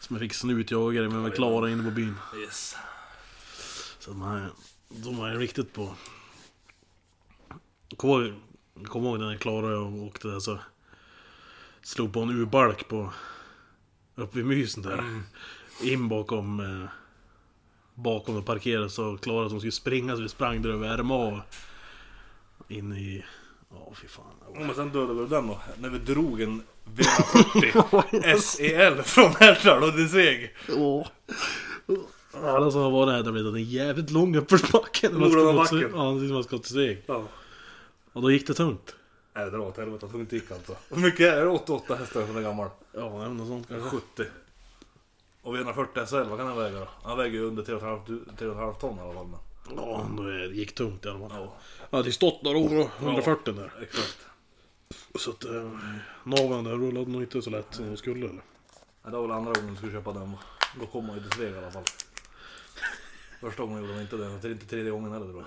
A: Som jag fick snutjagare med mig Klara inne på byn.
B: Yes.
A: Så att man, de var ju riktigt på... Kom ihåg, kom ihåg när Klara och jag åkte där så... Slog på en urbalk på... Uppe vid mysen där. In bakom... Eh, bakom och parkerade så Klara som skulle springa så vi sprang där över RMA. In i... Ja, fy fan.
B: Ja, Men sen dödade vi den då. När vi drog en V40 SEL från Hertland och det seg.
A: Åh. Alla som har varit här, det har blivit en jävligt lång uppförsbacke. när man ska
B: Norra
A: gå till-
B: backen.
A: Ja, precis, man ska till Sveg.
B: Ja.
A: Och då gick det tungt.
B: Nej, det var åt helvete att hon inte gick alltså. Hur mycket är det? 88 hästar för den gammal.
A: Ja, nej, men något sånt kanske.
B: 70. Och V140 SL, E vad kan den väga då? Han väger ju under 3,5 3,5 ton i alla fall. men-
A: Ja, då är- det gick tungt i alla fall.
B: Ja,
A: Han hade ju stått några år och 140 där.
B: exakt.
A: Så att eh, naveln där rullade nog inte så lätt som de skulle eller?
B: Ja, Det var väl andra gången du skulle köpa den. Då kommer man ju till Sveg i alla fall. Första gången gjorde de inte det. Det är inte tredje gången heller tror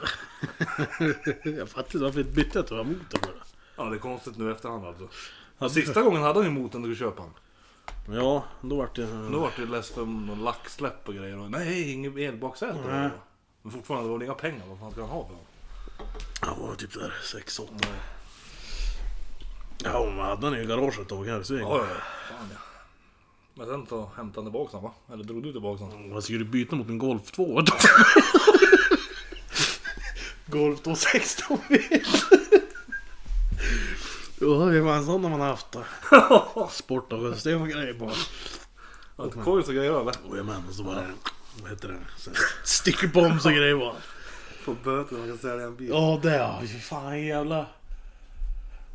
B: jag.
A: jag fattar inte varför jag bytte jag tror jag motor för det.
B: Ja, det är konstigt nu i efterhand alltså.
A: Ja,
B: Sista gången hade han ju motorn du köpa han.
A: Ja, då vart det...
B: Men då vart det less för någon lacksläpp och grejer. Och, nej, inget elbaksäte. var det
A: Nej.
B: då. Men fortfarande, det var väl inga pengar. Vad fan ska han ha för dem?
A: Ja, det var typ där 6-8. Ja, men hade den i garaget ett tag här i Sveg.
B: Ja, ja, ja. Fan ja. Men sen så hämtade han tillbaka den va? Eller drog du tillbaka den?
A: Vad skulle du byta mot en Golf 2? Golf 2 16 bil. Ja, det var en sån har man haft. Sportavgångssystem och grejer bara.
B: Ett kojs och grejer eller?
A: Och jag menar så bara... Vad heter det? Så här Stickbombs och grejer bara.
B: Får böter man kan sälja en bil.
A: Ja, det ja. Fy fan jävla...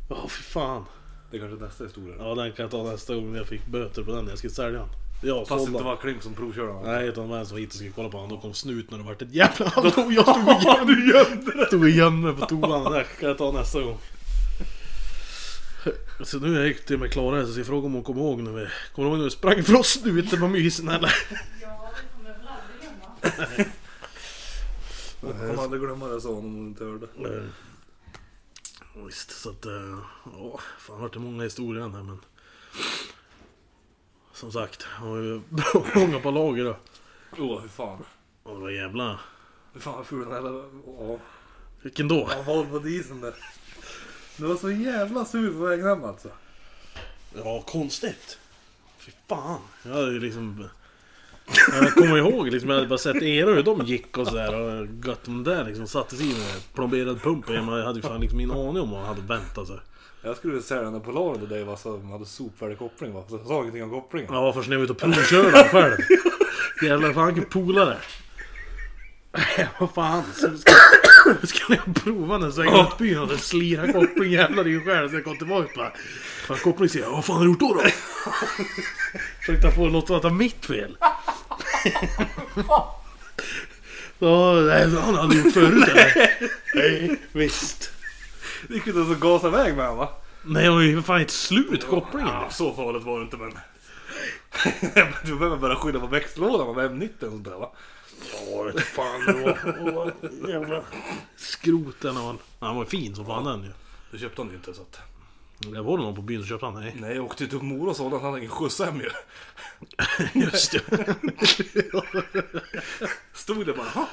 A: Ja, fy fan.
B: Det är kanske nästa historia.
A: Ja, den kan jag ta nästa gång när jag fick böter på den när jag skulle sälja den. Jag
B: Fast det
A: sålde
B: inte
A: den.
B: var Klimp som provkörde den.
A: Nej, utan det var en som var hit och skulle kolla på honom. Då kom snuten och det vart ett jävla hallå. Jag stod och gömde, du gömde dig! Stod och gömde mig på toan. Det där kan jag ta nästa gång. Så nu är jag gick till med Klara här, så jag frågade om hon kommer ihåg när vi... Kommer du ihåg när vi sprang för oss nu ute på mysen eller?
C: Ja, det kommer jag
B: Jag
C: väl aldrig glömma.
B: kommer aldrig glömma det sa hon om hon inte hörde.
A: Eh, Visst, så att... eh, Ja, fan vart det många historier än här men... Som sagt, har ju bra många på lager då.
B: Åh, hur fan.
A: Och det var jävla...
B: Hur fan vad ful den här... Ja,
A: Vilken då?
B: han var på isen där. Du var så jävla sur på vägen hem alltså.
A: Ja, konstigt. Fy fan. Jag hade ju liksom... Jag kommer ihåg liksom, jag hade bara sett era hur de gick och sådär och gött de där liksom sattes i med plomberad pump och jag hade ju fan liksom ingen aning om vad han hade väntat sig.
B: Jag skulle sälja den där Polaren till dig va, så man hade sopvärdig koppling va. Så jag sa ingenting om kopplingen.
A: Ja, först när jag var ute och provkörde han själv. Jävlar, fan vilken polare. Vad fan, så ska, ska ni prova den svängen runt byn och slira koppling jävlar i en själv. Så jag kom tillbaka och bara... Fan koppling säger jag, vad fan har du gjort då då? Försökte få något att vara mitt fel. Så, nej, han hade gjort förut eller? Nej, visst.
B: Det gick ju inte ens att gasa iväg med den va.
A: Nej, jag var ju för fan helt slut kopplingen.
B: Ja, så farligt var det inte men. du behöver bara skylla på växellådan med M90 och sånt där va.
A: Ja, vet fan det var. åh, Jävla skroten och han. Han var fin som fan den ju.
B: Du köpte den ju inte så att.
A: Det var det någon på byn som köpte han? Nej.
B: Nej jag åkte ju till Mora och sålde den. Han hade ingen skjuts hem ju.
A: Just det.
B: Stod det bara ha.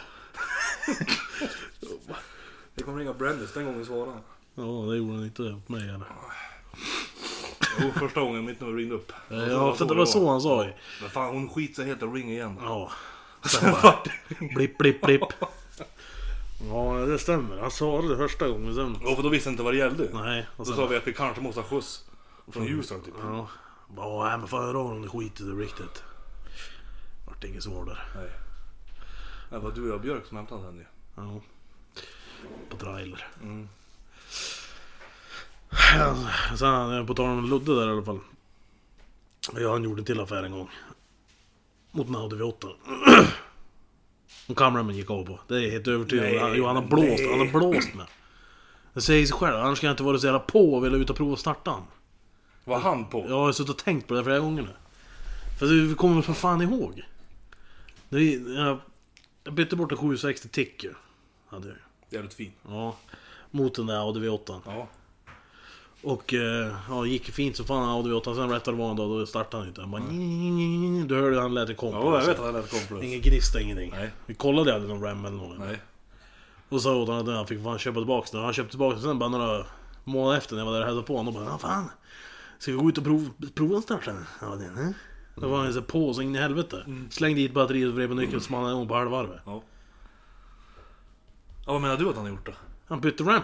B: Det kommer ringa Brandis den gången svarade han.
A: Ja, det gjorde han inte åt mig heller.
B: Jo första gången mitt nummer ringde upp.
A: Ja, för det var så han sa ju.
B: Men fan hon skiter sig helt och ring igen.
A: Ja.
B: Sen vart
A: Blipp, blipp, blipp. Ja, det stämmer. Han sa det första gången sen.
B: Ja för då visste jag inte vad det gällde.
A: Nej. Och
B: Då
A: sen,
B: sa vi att vi kanske måste ha skjuts. Från Ljusdal typ.
A: ja. Bara, nej men fan hör av dig om det skiter du riktigt. Vart det inget svar där.
B: Nej. Det var du och jag Björk som hämtade den ju.
A: Ja. På trailer.
B: Mm.
A: Sen eh, på tal om Ludde där i alla fall. Ja, han gjorde en till affär en gång. Mot en Audi V8. Och kameran gick av på. Det är jag helt övertygad om.
B: Nej,
A: Jo, han har blåst.
B: nej.
A: Han har blåst med. Det säger sig själv. Annars kan jag inte vara så jävla på och vilja ut och prova att starta han.
B: Var han på?
A: Jag har suttit och tänkt på det flera gånger nu. För du kommer för fan ihåg. Det är, jag, jag bytte bort en 760 Tick ju. Hade jag ju.
B: Jävligt fin.
A: Ja. Mot den där Audi V8.
B: Ja.
A: Och eh, ja, det gick fint som fan Audi 8 sen rätt vad det var en dag då startade han inte. Han bara... "Njinjinjinjinjing." Du hörde hur han lät i kompis.
B: Ja, jag vet att han lät kompis.
A: Ingen gnista, ingenting.
B: Nej.
A: Vi kollade aldrig någon RAM eller något.
B: Nej.
A: Och sa åt honom att han fick fan köpa tillbaka den. Han köpte tillbaka den sen bara några månader efter när jag var där och hälsade på honom. Och bara, "Ja, fan. Ska vi gå ut och prov, prova att starta den? Ja, det är Då var han så här på så in i helvete.
B: Mm.
A: Slängde dit batteriet och vred på nyckeln så small han igång på halvvarvet.
B: Ja. ja. Vad menar du att han har gjort då?
A: Han bytte RAM.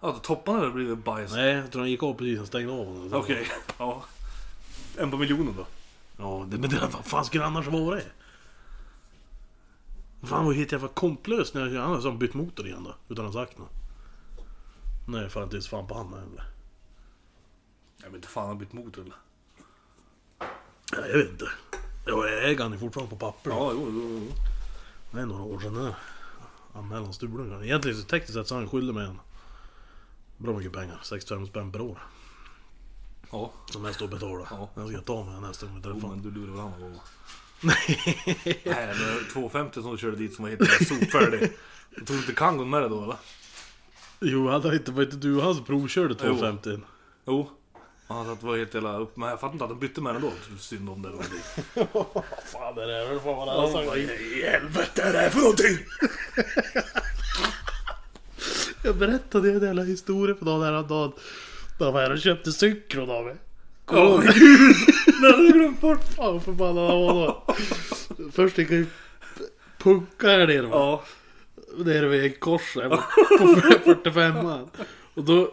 B: Ja, topparna hade blivit bajs.
A: Nej, jag tror han gick av precis och stängde av honom.
B: Okej. Ja. En på miljonen då?
A: Ja, det, men det, vad fan skulle det annars vara det? Fan vad helt jävla komplöst när jag annars har han bytt motor igen då. Utan att ha sagt något. Nej, fan inte ens fan på han heller.
B: Jag vet inte fan, han har bytt motor eller?
A: Ja, jag vet inte. Ja, Jag äger han ju fortfarande på papper.
B: Ja, jo, jo, jo.
A: Det är några år sedan nu. Anmälan stulen kanske. Egentligen så tekniskt sett så är han skyldig mig en bra mycket pengar. 65 spänn per år.
B: Ja.
A: Som jag står och betalar.
B: Ja.
A: Den ska jag ta med nästa gång vi
B: Jo,
A: träffar
B: men du lurar väl han någon gång? va? Nej, det var 250 som körde dit som var helt jävla sopfärdig. Jag tog inte kangon med det då eller?
A: Jo, hade inte, var inte du och han provkörde 250?
B: Jo. Han satt och var helt jävla upp, men jag fattar inte att de bytte med den då. Det är Synd om det eller någonting.
A: Vad fan är det här? Vad fan var det
B: Ja,
A: här?
B: vad
A: sagt?
B: i helvete är det här för någonting?
A: Jag berättade ju en jävla historia för någon häromdagen. När han var här och köpte cykeln av mig. Åh gud! Det hade jag glömt bort. Fan vad förbannad han var då. Först gick han ju punka här nere. va?
B: Ja.
A: Nere vid ett kors där på 45an. Och då,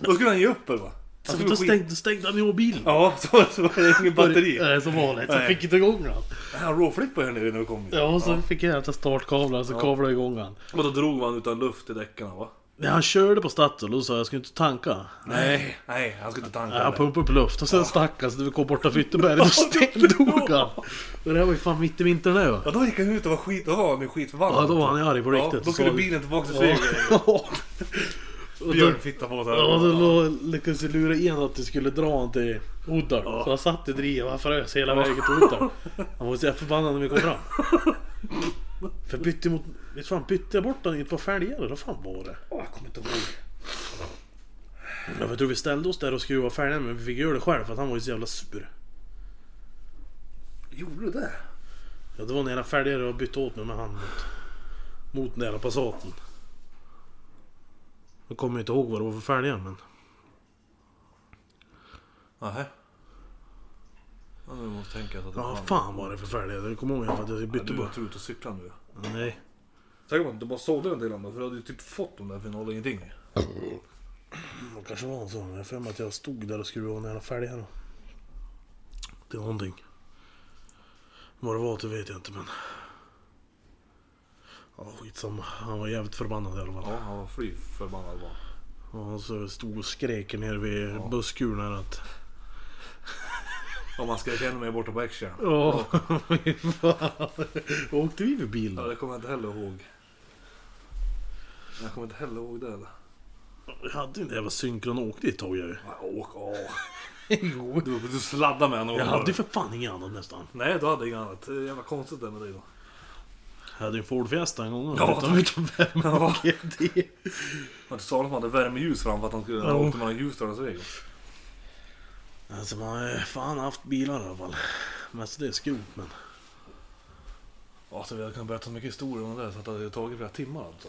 B: Då skulle han ge upp eller va? Han
A: så
B: skulle
A: då
B: Alltså, skit-
A: stängde, stängde han ju av bilen.
B: Ja, så, så var det ingen batteri.
A: Nej, som vanligt. Så
B: Nej.
A: fick inte igång den.
B: Han råflippade här nere när vi kom hit.
A: Ja, och så fick jag en jävla startkablar så kablade jag igång han.
B: Och då drog man utan luft i däcken va?
A: När han körde på Statoil, då sa jag, jag ska inte tanka.
B: Nej. Nej, han skulle inte tanka
A: Ja, han
B: det.
A: pumpade upp luft och sen stack han så det kom borta Fytteberg och stendog han. Och det här var ju fan mitt i vintern det va.
B: Ja, då gick han ut och var skit... Då var han ju skitförbannad.
A: Ja då var han ju arg på riktigt.
B: Ja, då
A: och
B: skulle
A: sa-
B: bilen tillbaka till
A: Ja.
B: Sveg.
A: Och då-
B: Björnfitta på sig.
A: Ja, då lå- lyckades vi lura in att du skulle dra han till Oddarp. Så han satt i drivet och han frös hela vägen till Oddarp. Han var så jävla förbannad när vi kom fram. För jag bytte mot... Visst fan bytte jag bort honom i ett par fälgar eller vad fan var det?
B: Åh, Jag kommer inte ihåg.
A: Ja, för Jag tror vi ställde oss där och skruvade fälgarna men vi fick göra det själv för att han var ju så jävla sur.
B: Gjorde du det?
A: Ja, det var när jag fälgade och bytte åt mig med hand mot, mot den jävla Passaten. Jag kommer inte ihåg vad det var för fälgar men...
B: Nähä. Ja, nu måste jag tänka så att det
A: Ja, vad fan var det för fälgar? Jag kommer ihåg att jag
B: Ja,
A: bytte
B: Du
A: bara.
B: var tur ute och cyklade nu.
A: Nej.
B: Säkert att du bara sålde den till honom för du hade ju typ fått dem där för noll och ingenting.
A: Det kanske var en sån. Jag har för mig att jag stod där och skruvade av den jävla fälgarna. Det är någonting. Vad det var det vet jag inte men... Ja, skitsamma. Han var jävligt förbannad i alla fall.
B: Ja, han var fly förbannad var han.
A: Och han så stod och skrek ner vid busskuren här att...
B: Om man ska känna mig borta på Action.
A: Ja, fy fan. Åkte vi för bil
B: Ja,
A: då?
B: det kommer jag inte heller ihåg. Jag kommer inte heller ihåg det eller.
A: Jag hade ju en jävla synkron och åkte i ett tag jag ju.
B: Ja, Åk, åh.
A: Jo.
B: Du, du sladdade med honom.
A: Jag hade ju för fan inget annat nästan.
B: Nej, du hade inget annat. Det är jävla konstigt det med dig då.
A: Jag hade ju en Ford Fiesta en gång.
B: Ja,
A: utan utan värme
B: Ja.
A: och GT.
B: Men du sa att man hade värmeljus framför att han skulle
A: Ja.
B: ja. åka mellan Ljusdal och Sveg.
A: Alltså man har ju fan haft bilar i alla fall. Mestadels skrot men.
B: Alltså vi kan berätta så mycket historier om det där så att det hade tagit flera timmar alltså.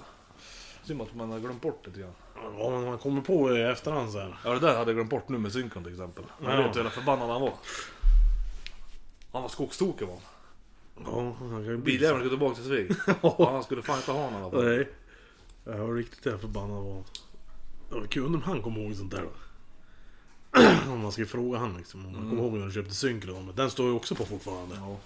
B: Synd att man har glömt bort lite grann.
A: Ja, men man kommer på i efterhand så här.
B: Ja det där hade jag glömt bort nu med synkon till exempel. Jag
A: Ja.
B: vet ju hur förbannad han var. Han var skogstokig var han.
A: Ja, han kan ju bli
B: Biljäveln skulle tillbaka till Sveg. Och han skulle fan inte ha honom i alla
A: så.
B: fall.
A: Nej. Jag var riktigt jävla förbannad var han. Det var kul om han kom ihåg sånt där då. Om man ska fråga han liksom. Om han kommer ihåg när du köpte synkron. Men Den står ju också på fortfarande.
B: Ja,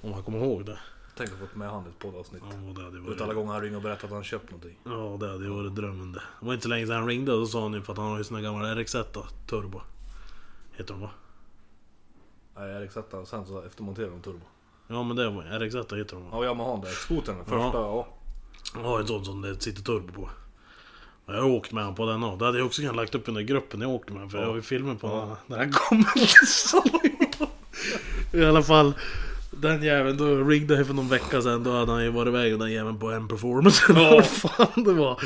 A: Om han kommer ihåg det.
B: tänk att ha fått med han i ett poddavsnitt.
A: Ja, det hade ju
B: Ut alla
A: varit,
B: gånger han ringer och berättar att han köpt någonting.
A: ja, det hade ju varit drömmen det. Det var inte så länge sedan han ringde och då sa han ju för att han har ju sina gamla RX1 Turbo. Heter de va?
B: Nej, Erik satt där och sen så eftermonterade de turbo.
A: Ja men det var RX1 heter de va?
B: Ja, Yamahan där. Skotern, första. Ja.
A: Jag har en sån som det sitter turbo på. Och Jag har åkt med han på den och Då hade jag också kunnat lagt upp den där gruppen jag åkte med. För jag har ju filmer på när- när han kom till salongen. I alla fall. Den jäveln, då ringde jag för någon vecka sedan. Då hade han ju varit iväg den jäveln på en performance. Eller vad fan det var.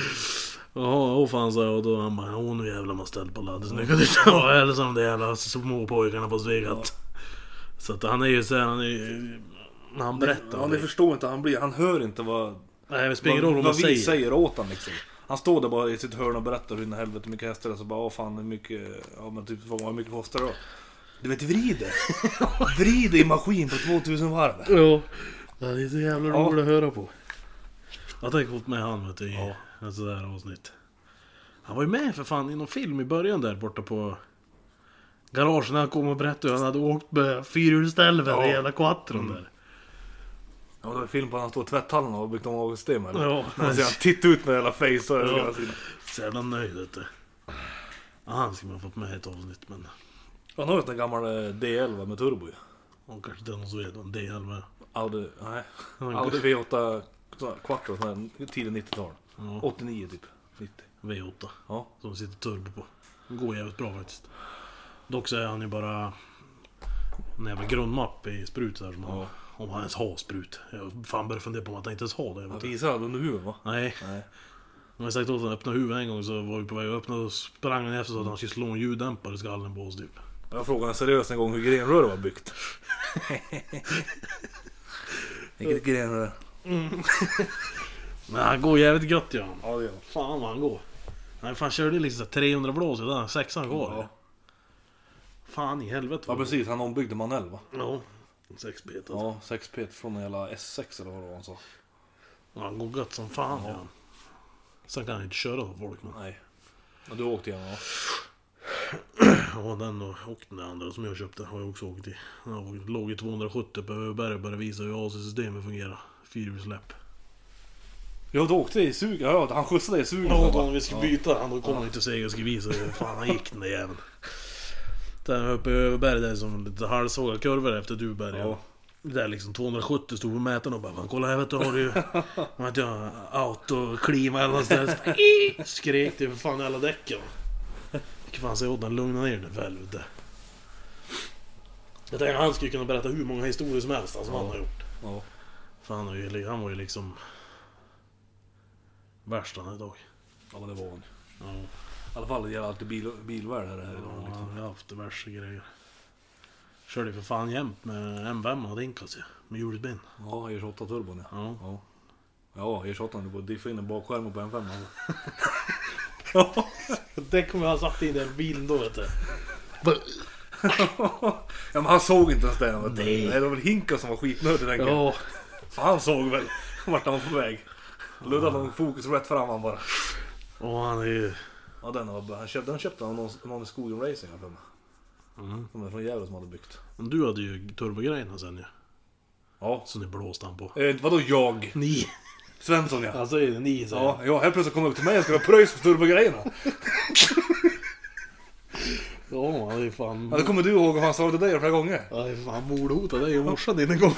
A: Jaha, åh fan sa jag och då han bara Åh nu jävlar man ställt på laddet. Så nu kan du ta eller som de jävla småpojkarna på Svegat. Så att han är ju såhär, han är ju... När han berättar.
B: Ja, ni förstår inte. Han, blir, han hör inte vad,
A: Nej men spelar ingen roll
B: vad,
A: vad
B: vad
A: man
B: vi
A: säger.
B: säger. åt honom liksom. Han står där bara i sitt hörn och berättar hur in i helvete mycket hästar det är. Så bara, åh fan hur mycket, ja men typ vad mycket kostar det då? Du vet vrider. vrider i maskin på 2000 varv.
A: Ja. Det är så jävla
B: Ja.
A: roligt att höra på. Jag tänker fått med han vet du, i ett sådär avsnitt. Han var ju med för fan i någon film i början där borta på garagen. när Han kom och berättade hur han hade åkt med fyrhjulsdälven
B: Ja.
A: i jävla quattron där.
B: Ja, det var en film på när han står i tvätthallen och har byggt om avgassystemet. eller?
A: Ja.
B: När man ser han titta ut med hela face
A: Ja.
B: och ja.
A: Så jävla nöjd vet du. Ja, han skulle man ha fått med i ett avsnitt men...
B: Han har ju en gammal eh, D11 med turbo ju.
A: Och kanske det är någon som vet vad en DL med.
B: Audi, nej. Audi V8 så här, Quattro, sån här tidigt 90-tal. 89 typ. 90.
A: V8.
B: Ja.
A: Som sitter turbo på. Den går jävligt bra faktiskt. Dock så är han ju bara En jävla grundmapp i sprut där som han,
B: Ja.
A: Om han ens har sprut. Jag fan började fundera på om att han inte ens har det.
B: Att
A: vet du.
B: Isa hade under huvudet va?
A: Nej.
B: Nej.
A: Om jag sagt åt honom att öppna huvudet en gång så var vi på väg att öppna och sprang han efter så att han skulle slå en ljuddämpare i skallen på oss typ.
B: Jag frågade seriöst en gång hur grenrör var byggt. Vilket grenrör?
A: Men han går jävligt gött gör han.
B: Ja det gör man.
A: Fan vad han går. Han fan körde liksom så här 300 blås i den, sexan kvar.
B: Ja.
A: Fan i helvete.
B: ja
A: vad-
B: precis, han ombyggde manuell va?
A: Ja. Sexbetad.
B: Ja, 6 pet från en jävla S6 eller vad det var han sa.
A: Ja, han går gött som fan ja. Sen kan han inte köra för folk men.
B: Nej. Men du åkte igen va?
A: Ja, den och, och den andra som jag köpte har jag också åkt i. Den har- låg i 270 på Öberg och började visa hur AC-systemet fungerar. Fyrhjulssläpp.
B: Ja du åkte i sugen, ja han skjutsade dig i sugen.
A: Ja,
B: va?
A: då vi ska byta han då kommer han inte säga jag ska visa hur fan han gick den där jäveln. Sen uppe i Överberg där som lite halvsåga kurvor efter Duberg.
B: Ja.
A: Där liksom 270 stod på mätaren och bara "Fan, kolla här vet du har du ju... Vet jag, autoklima eller någonstans. Skrek det för fan i alla däcken. Jag kan fan säga åt den lugna ner dig för helvete. Jag tänkte han skulle kunna berätta hur många historier som helst alltså, som
B: Ja.
A: han har gjort.
B: Ja.
A: För han, har ju, han var ju liksom... Värst han är idag.
B: ja men det var han.
A: Ja.
B: I alla fall det gäller alltid bil, bilvärd här. här
A: Ja,
B: idag,
A: jag
B: liksom.
A: har haft diverse grejer. Körde ju för fan jämt med M5 och Dinkas ju. Med hjulet bin.
B: Ja, E28 turbon ja.
A: Ja.
B: Ja, ja E28 du bara diffa in en bakskärm på en 5
A: Det kommer jag ha satt in i den bilen då vet du.
B: Ja men han såg inte ens det. vet du.
A: Nej.
B: Nej. Det var väl Hinka som var skitnödig tänker jag. Så han såg väl vart han var på väg. Luddade någon fokus rätt fram han bara.
A: Och han är ju...
B: Ja den var bra. Han köpte, den köpte han av någon, någon i Skogen Racing här för mig. De är från Gävle som hade byggt.
A: Men du hade ju turbogrejerna sen ju.
B: Ja.
A: Som ni blåste han på.
B: Eh, vadå jag?
A: Ni!
B: Svensson ja.
A: Alltså är det ni säger
B: Ja, ja helt plötsligt kom han upp till mig och skulle ha pröjs för turbogrejerna.
A: jag. Ja, det är fan...
B: Ja, det kommer du ihåg vad han sa till dig flera gånger.
A: Ja, det är fan mordhotade dig och morsan din en gång.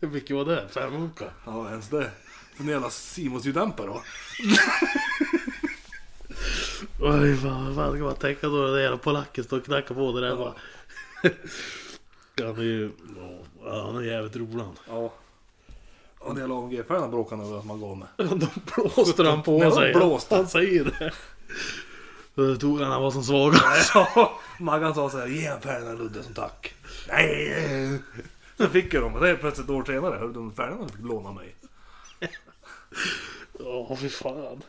A: Hur mycket var det? 500?
B: Ja ens det. För en jävla Simons-ljuddämpare va?
A: Oj, fan, fan, jag kan bara tänka då den där jävla polacken står och knackar på det där bara. Han är ju... Ja, han är jävligt rolig han.
B: Ja. Och när jag la om GPR'n bråkade han över att man gav mig.
A: De blåste han på
B: Nej,
A: sig.
B: de blåste.
A: Han säger det. Då tog han han var som svagast.
B: Ja, Maggan sa såhär, ge en Ferdinand och Ludde som tack. Nej! Sen fick jag dem och det är plötsligt ett år senare. Hörde de Ferdinand fick låna mig.
A: Ja, fy fan.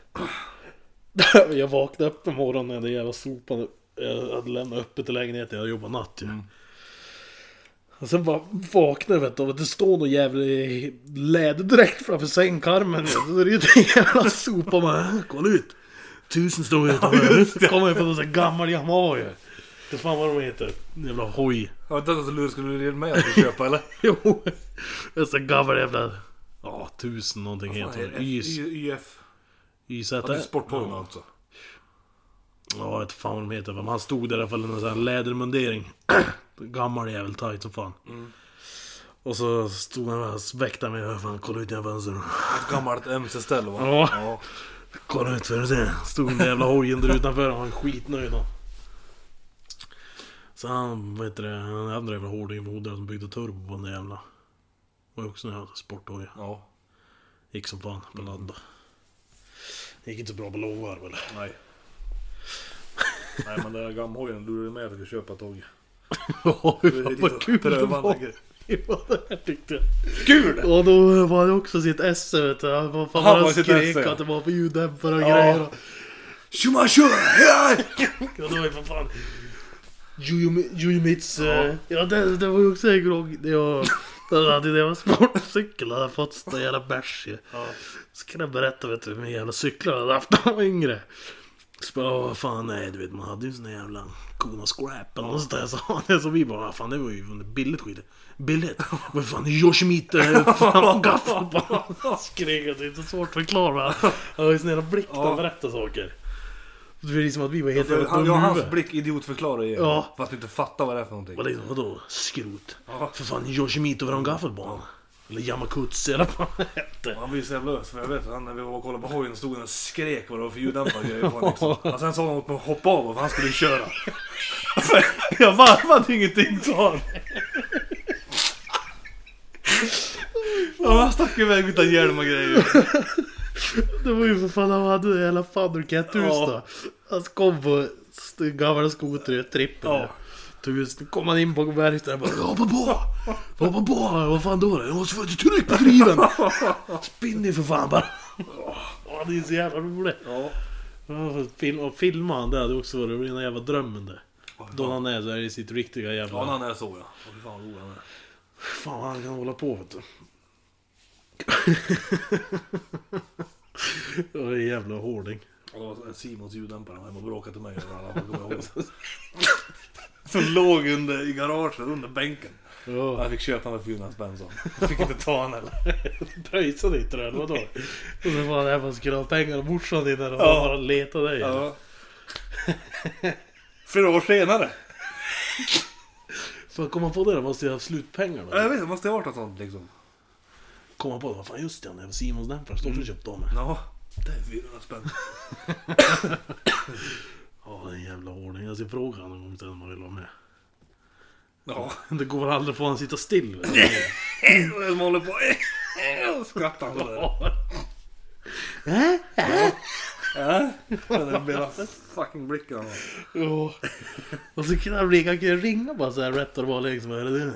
A: Jag vaknade upp en morgon när den jävla sopan... Jag hade lämnat öppet i lägenheten, jag jobbade natt ju.
B: Mm.
A: Och sen bara vaknade jag vet du, av att det står någon jävla läderdräkt framför sängkarmen. vet du. Så det är en jävla sopa bara, kolla ut! Tusen står utanför. Kommer på någon sån här gammal Yamaha ju. Det fan vad de heter. Jävla hoj.
B: Jag vet inte att Ludde skulle ge mig att köpa eller?
A: Jo, en sån gammal jävla... Ja, tusen någonting heter
B: Nej,
A: den. YZ...
B: Y- YF.
A: YZ...
B: Ja, det är sportpojkarna alltså.
A: Ja, jag vet fan vad de heter. Men han stod där i alla fall i en sån här lädermundering. Gammal jävel, tight som fan.
B: Mm.
A: Och så stod han och väckte mig. och Fan, kolla ut genom fönstret.
B: Ett gammalt MC-ställe va?
A: Ja. Kolla ut för att se. Stod den där jävla hojen där utanför. Han var skitnöjd då. Så han, vad heter det, den andra jävla hårdingen på Hodra som byggde turbo på den där jävla. Var ju också en jävla sporthoj.
B: Ja.
A: Gick som fan på ladd. Det gick inte så bra på lågvarv eller?
B: Nej. Nej men den där gammhojen lurade mig att jag skulle köpa ett tag.
A: Ja,
B: Det är
A: fan, vad
B: lite
A: kul det
B: prövande
A: var.
B: grej.
A: Det var det här tyckte jag.
B: Kul!
A: Och då var det också sitt esse vet du. Han var fan
B: Han
A: han
B: var sitt
A: skrek
B: esse, ja.
A: att det var för ljuddämpare och
B: Ja.
A: grejer.
B: Tjomma tjomma!
A: Och då var ju för fan... Jujumits... Ja, ja det, det var ju också en gång när jag... Där hade jag en sportcykel hade fått sån där jävla bärs ju. Så kan jag berätta vet du hur mina jävla cyklar jag hade haft när jag var yngre. Så bara, "Åh, fan nej du vet man hade ju sån där jävla kona scrap eller något sånt där. Så, han det, så vi bara, "Ah, fan det var ju billigt skit. Billigt? Vad fan är Yoshimite? Fan vad gaffel på Han Skrek att det är så svårt att förklara. men Han han har ju sån jävla blick när han
B: Ja.
A: berättar saker. Så Det är liksom att vi var helt jävla
B: Han,
A: dumma
B: ja,
A: i
B: hans
A: huvudet.
B: blick idiotförklarar ju.
A: Ja.
B: Fast du inte fattar vad det är för någonting.
A: Vad liksom, vadå skrot?
B: Ja.
A: För fan, Yoshimito var en gaffelbarn. Eller Yamakutsi eller vad han hette.
B: Han blir så jävla ös, för jag vet att han när vi var och kollade på hojen stod han och skrek vad det var för ljuddämpare och grejer på honom, liksom. Och sen sa han åt mig att hoppa av för han skulle ju köra. jag varvade ingenting sa han. Ja, han stack iväg utan hjälm och grejer.
A: Det var ju för fan han hade det hela Thunder Cat-hus
B: Ja.
A: Han kom på st- gamla skoter, trippel.
B: Ja.
A: Tog ut, kom han in på verkstaden och bara hoppa på! Hoppa på! Vad fan då? Jag måste få ett tryck på driven! Spinn ju för fan bara! Åh, det är så jävla roligt!
B: Ja.
A: Ja, Film, och filma han det hade också varit rena jävla drömmen det. Då han är så här i sitt riktiga jävla...
B: Ja, han är så ja. Åh, Fy fan vad rolig han är.
A: Fan vad han kan hålla på vet du. Det var en jävla hårding.
B: Och det var Simons ljuddämpare han var hemma och bråkade till mig över alla han kommer ihåg. Som låg under, i garaget, under bänken.
A: Ja,
B: Jag fick köpa den för 400 spänn sa han. Jag fick inte ta den heller.
A: pröjsade inte den, vadå? Och sen var han hemma och skulle ha pengar av morsan innan och
B: Ja.
A: bara letade dig.
B: Ja. Flera år senare.
A: För att komma på det då måste jag ha haft slutpengar
B: Ja, Jag
A: då.
B: vet, det måste ha varit något sånt liksom.
A: Komma på det, vad fan just det, han jävla Simons dämpare, står och köpte av mig.
B: Ja, det är 400 spänn.
A: Ja, det är en jävla hårding. Jag ska fråga honom om inte han vill ha med.
B: Ja,
A: Det går väl aldrig att få han sitta still. vet du.
B: som håller på. Och Skrattar han sådär. Ja, den där fucking blicken han har.
A: Ja. Och så kan han ringa, kan jag ringa bara såhär rätt och bara liksom. Eller du?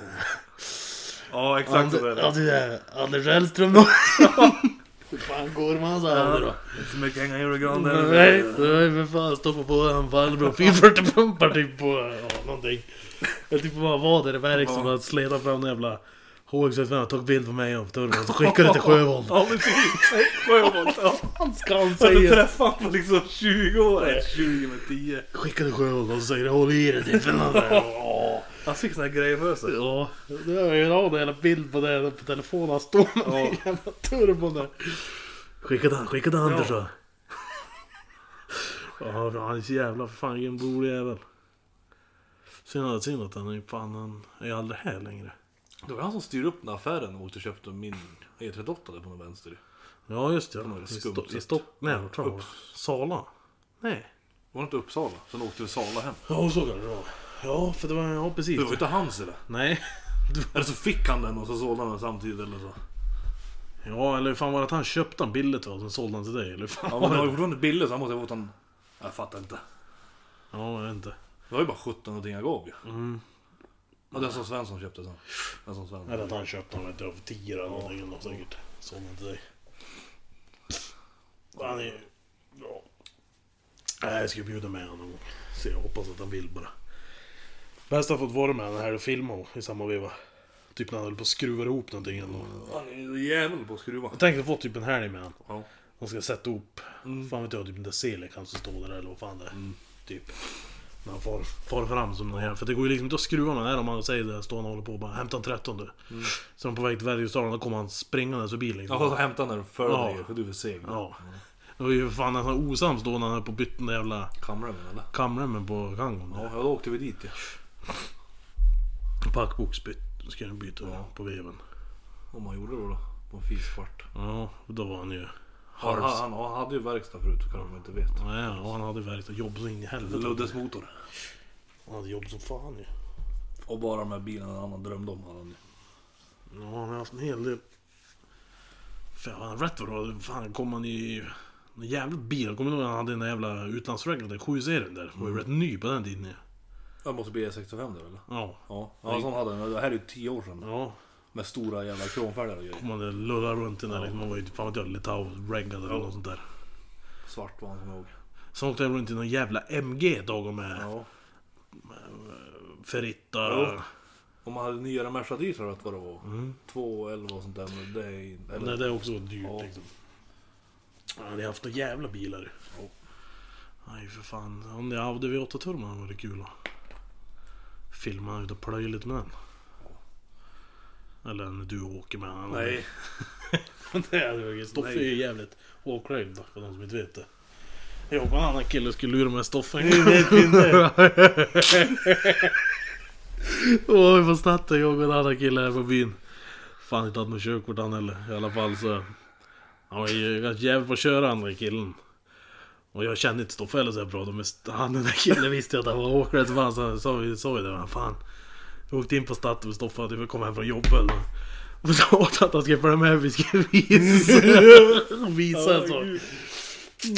B: Ja, exakt så
A: Ander,
B: är
A: ja,
B: det.
A: du är Anders Hellström då. Hur fan går det med hans händer då?
B: Inte så mycket hänga i julgran
A: Nej,
B: där.
A: det är för fan stoppa på en farbror 440 pumpar typ på ja, någonting. Jag typ bara var där i verkstaden och sletade fram den jävla HX75 och tog bild på mig och turban och skickade det till Sjövold.
B: Ja, precis. Sjöboll. Ja.
A: Vad ska han
B: Jag har inte
A: säga?
B: träffat honom på liksom 20 år. 20 med 10.
A: Skickade till Sjövold och så säger håll i typ, det till Finland.
B: Han fick såna här grejer för sig.
A: Ja, det har jag ju en jävla bild på det på telefonen. Han står med
B: Ja.
A: den jävla turbon där. Skickade han, skickade han Anders ja. ja, han är så jävla för fan vilken rolig jävel. Synd att, synd att han är fan, han är ju aldrig här längre.
B: Det var han som styrde upp den här affären och åkte och köpte min E38 där på någon vänster.
A: Ja just det.
B: var det
A: I
B: skumt
A: Sto- I
B: sätt.
A: Stockholm? Nej, vart var det?
B: Upps.
A: Sala? Nej.
B: Var det inte Uppsala? Sen åkte vi Sala hem.
A: Ja så kan det vara. Ja, för det var, ja precis.
B: Det var ju inte hans eller?
A: Nej.
B: Eller så fick han den och så sålde han den samtidigt eller så.
A: Ja eller hur fan var det att han köpte den billigt va? Sen sålde han till dig? Eller hur fan
B: Ja
A: var
B: men
A: det?
B: det var ju fortfarande billigt så han måste ha fått en... Jag fattar inte.
A: Ja, jag vet inte.
B: Det var ju bara 17 någonting jag gav ju. Och den som Svensson köpte sen. Den som Svensson.
A: Eller att han köpte den vet jag, för 10 eller någonting. Ja. Säkert. Sålde den till dig. Han är ja. Nej, jag ska bjuda med honom någon gång. Se, jag hoppas att han vill bara. Bäst har fått vara med den här och filma i samma veva. Typ när han höll på att skruva ihop någonting. Eller något.
B: Han är ju jävel på att skruva.
A: Jag tänkte få typ en helg med han.
B: Ja.
A: Han ska sätta upp,
B: Mm.
A: fan vet jag, typ en decile kanske står där eller vad fan det är. Typ. När han far, far fram som den här. För det går ju liksom inte att skruva med den här om man säger det. Står han och håller på och bara hämta en 13 du. Så de är på väg till Värjestaden, då kommer han springandes förbi liksom.
B: Mm. Ja och så hämtade han den för
A: Ja.
B: dig för du är för seg.
A: Ja. Det var ju för fan nästan osams då när han höll på och bytte den där jävla
B: Kamremmen eller?
A: kamremmen på kangon.
B: Ja, då åkte vi dit ja.
A: Packboksbytt ska han byta på veven.
B: Om han gjorde det då. På en fiskfart.
A: Ja, och då var han ju
B: Han,
A: halvs.
B: han, han hade ju verkstad förut, kanske man inte vet.
A: Nej, och han hade verkligen jobb så in i helvete.
B: Luddes motor.
A: Han hade jobb som fan ju.
B: Och bara de här bilarna han drömde om. hade Han.
A: Ja, han har haft en hel del. Fan, han rätt vad det var. Fan, kom han i... Någon jävla bil. Jag kommer ihåg när han hade den där jävla utlandsregeln där. 7-serien där. Var ju rätt ny på den tiden ju.
B: Det måste bli E65 där eller?
A: Ja.
B: Ja, ja sån hade han. Det här är ju 10 år sedan.
A: Ja.
B: Med stora jävla kronfälgar och grejer.
A: Man hade lullat runt i den där. liksom. Man var ju fan vet jag, Litauen-reggad eller något sånt där.
B: Svart var han som jag ihåg.
A: Sen åkte jag runt i någon jävla MG dagom med
B: Ja.
A: Ferrita.
B: Ja. Om man hade nyare Merca diesel vet vad det var. 211 och sånt där. Men Mm. det är, eller,
A: Nej, det är också dyrt
B: Ja.
A: liksom. Han hade haft några jävla bilar.
B: Ja.
A: Nej för fan. Om det hade V8-turman hade varit kul att filma ut och plöja lite med den. Eller när du åker med den.
B: nej.
A: det hade varit Stoffe är ju jävligt awkward för de som inte vet det. Jag och en annan kille skulle lura med Stoffe en gång. Åh, vi var snattade jag och en annan kille här på byn. fan inte haft något körkort han heller. I alla fall så... Han var ju ganska jävlig på att köra den där killen. Och jag kände inte Stoffele så bra. De, han den där killen visste jag att han var åkare. Så fan så han sa vi sa ju det. Men fan. Jag åkte in på Statoil med Stoffe. Du får komma hem från jobbet. Eller? Och så åt han att han skulle följa med. Vi skulle visa. visa en sak.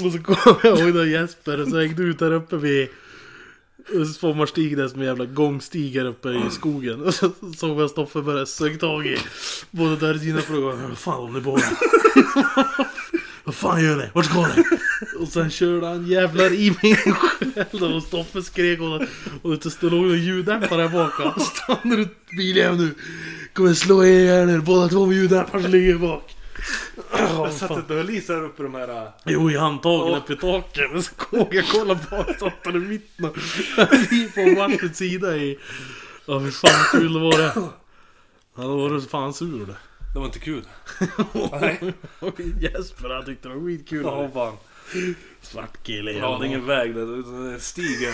A: Och så kom jag ihåg då Jesper och så hängde ut där uppe vid Sommarstig där som en jävla gångstig här uppe i skogen. Och så såg jag Stoffe börja sög tag i båda där dina frågor. Vad fan håller ni på med? Vad fan gör ni? Vart ska ni? Och sen körde han jävlar i min själv och Stoffe skrek och, och det stod någon ljuddämpare här bak. Han Stannar ut biljäveln nu. Kommer slå er ihjäl er båda två med ljuddämparen som ligger bak. Oh,
B: Jag satt inte och lisade upp de här... äh,
A: Jo, i handtagen
B: Ja.
A: uppe i taket. Men så kom jag kolla bak så satt han i mitten och vi på varsin sida i... Ja fy fan vad kul det var det. Han var så fan sur det.
B: Det var inte kul. Nej.
A: Och Jesper han tyckte det var skitkul.
B: Ja, fan.
A: Svart kille
B: Jag hade
A: jävling.
B: ingen väg där, utan det stiger.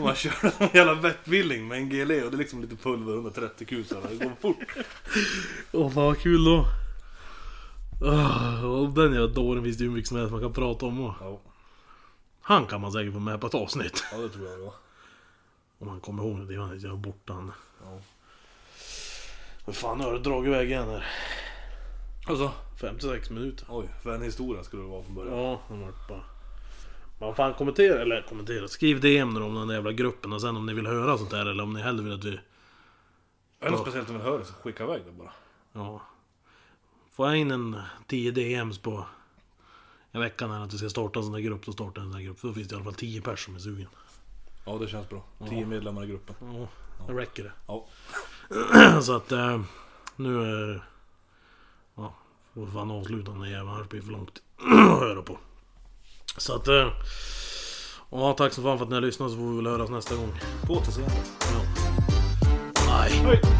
B: Man kör en jävla vettvilling med en GLE och det är liksom lite pulver, 130 kusar. Det går fort.
A: Åh fan vad kul då. Åh, och den jävla dåren finns det ju hur mycket som helst man kan prata om. Och.
B: Ja,
A: Han kan man säkert få med på ett avsnitt.
B: ja det tror jag det var.
A: Om han kommer ihåg det. Jag är jag borta han.
B: Ja.
A: Men fan nu har du dragit iväg igen här.
B: Och så,
A: 56 minuter.
B: oj, för en historia skulle det vara från början.
A: Ja, de vart bara... Man fan kommentera, eller kommentera, skriv DM nu om den där jävla gruppen och sen om ni vill höra sånt där eller om ni hellre vill att vi...
B: Är det något speciellt du vill höra så skicka iväg det bara.
A: Ja. Får jag in en 10 DMs på en vecka när att vi ska starta en sån där grupp, så startar jag en sån där grupp. Då finns det i alla fall 10 personer som är sugen.
B: Ja, det känns bra. 10 medlemmar i gruppen.
A: Ja, det räcker det.
B: Ja.
A: så att eh, nu är det... Ja, får fan avsluta den där jäveln, annars blir det för långt att höra på. Så att... Eh, ja, tack så fan för att ni har lyssnat så får vi väl höras nästa gång.
B: På återseende.
A: Ja. Nej.
B: Hej!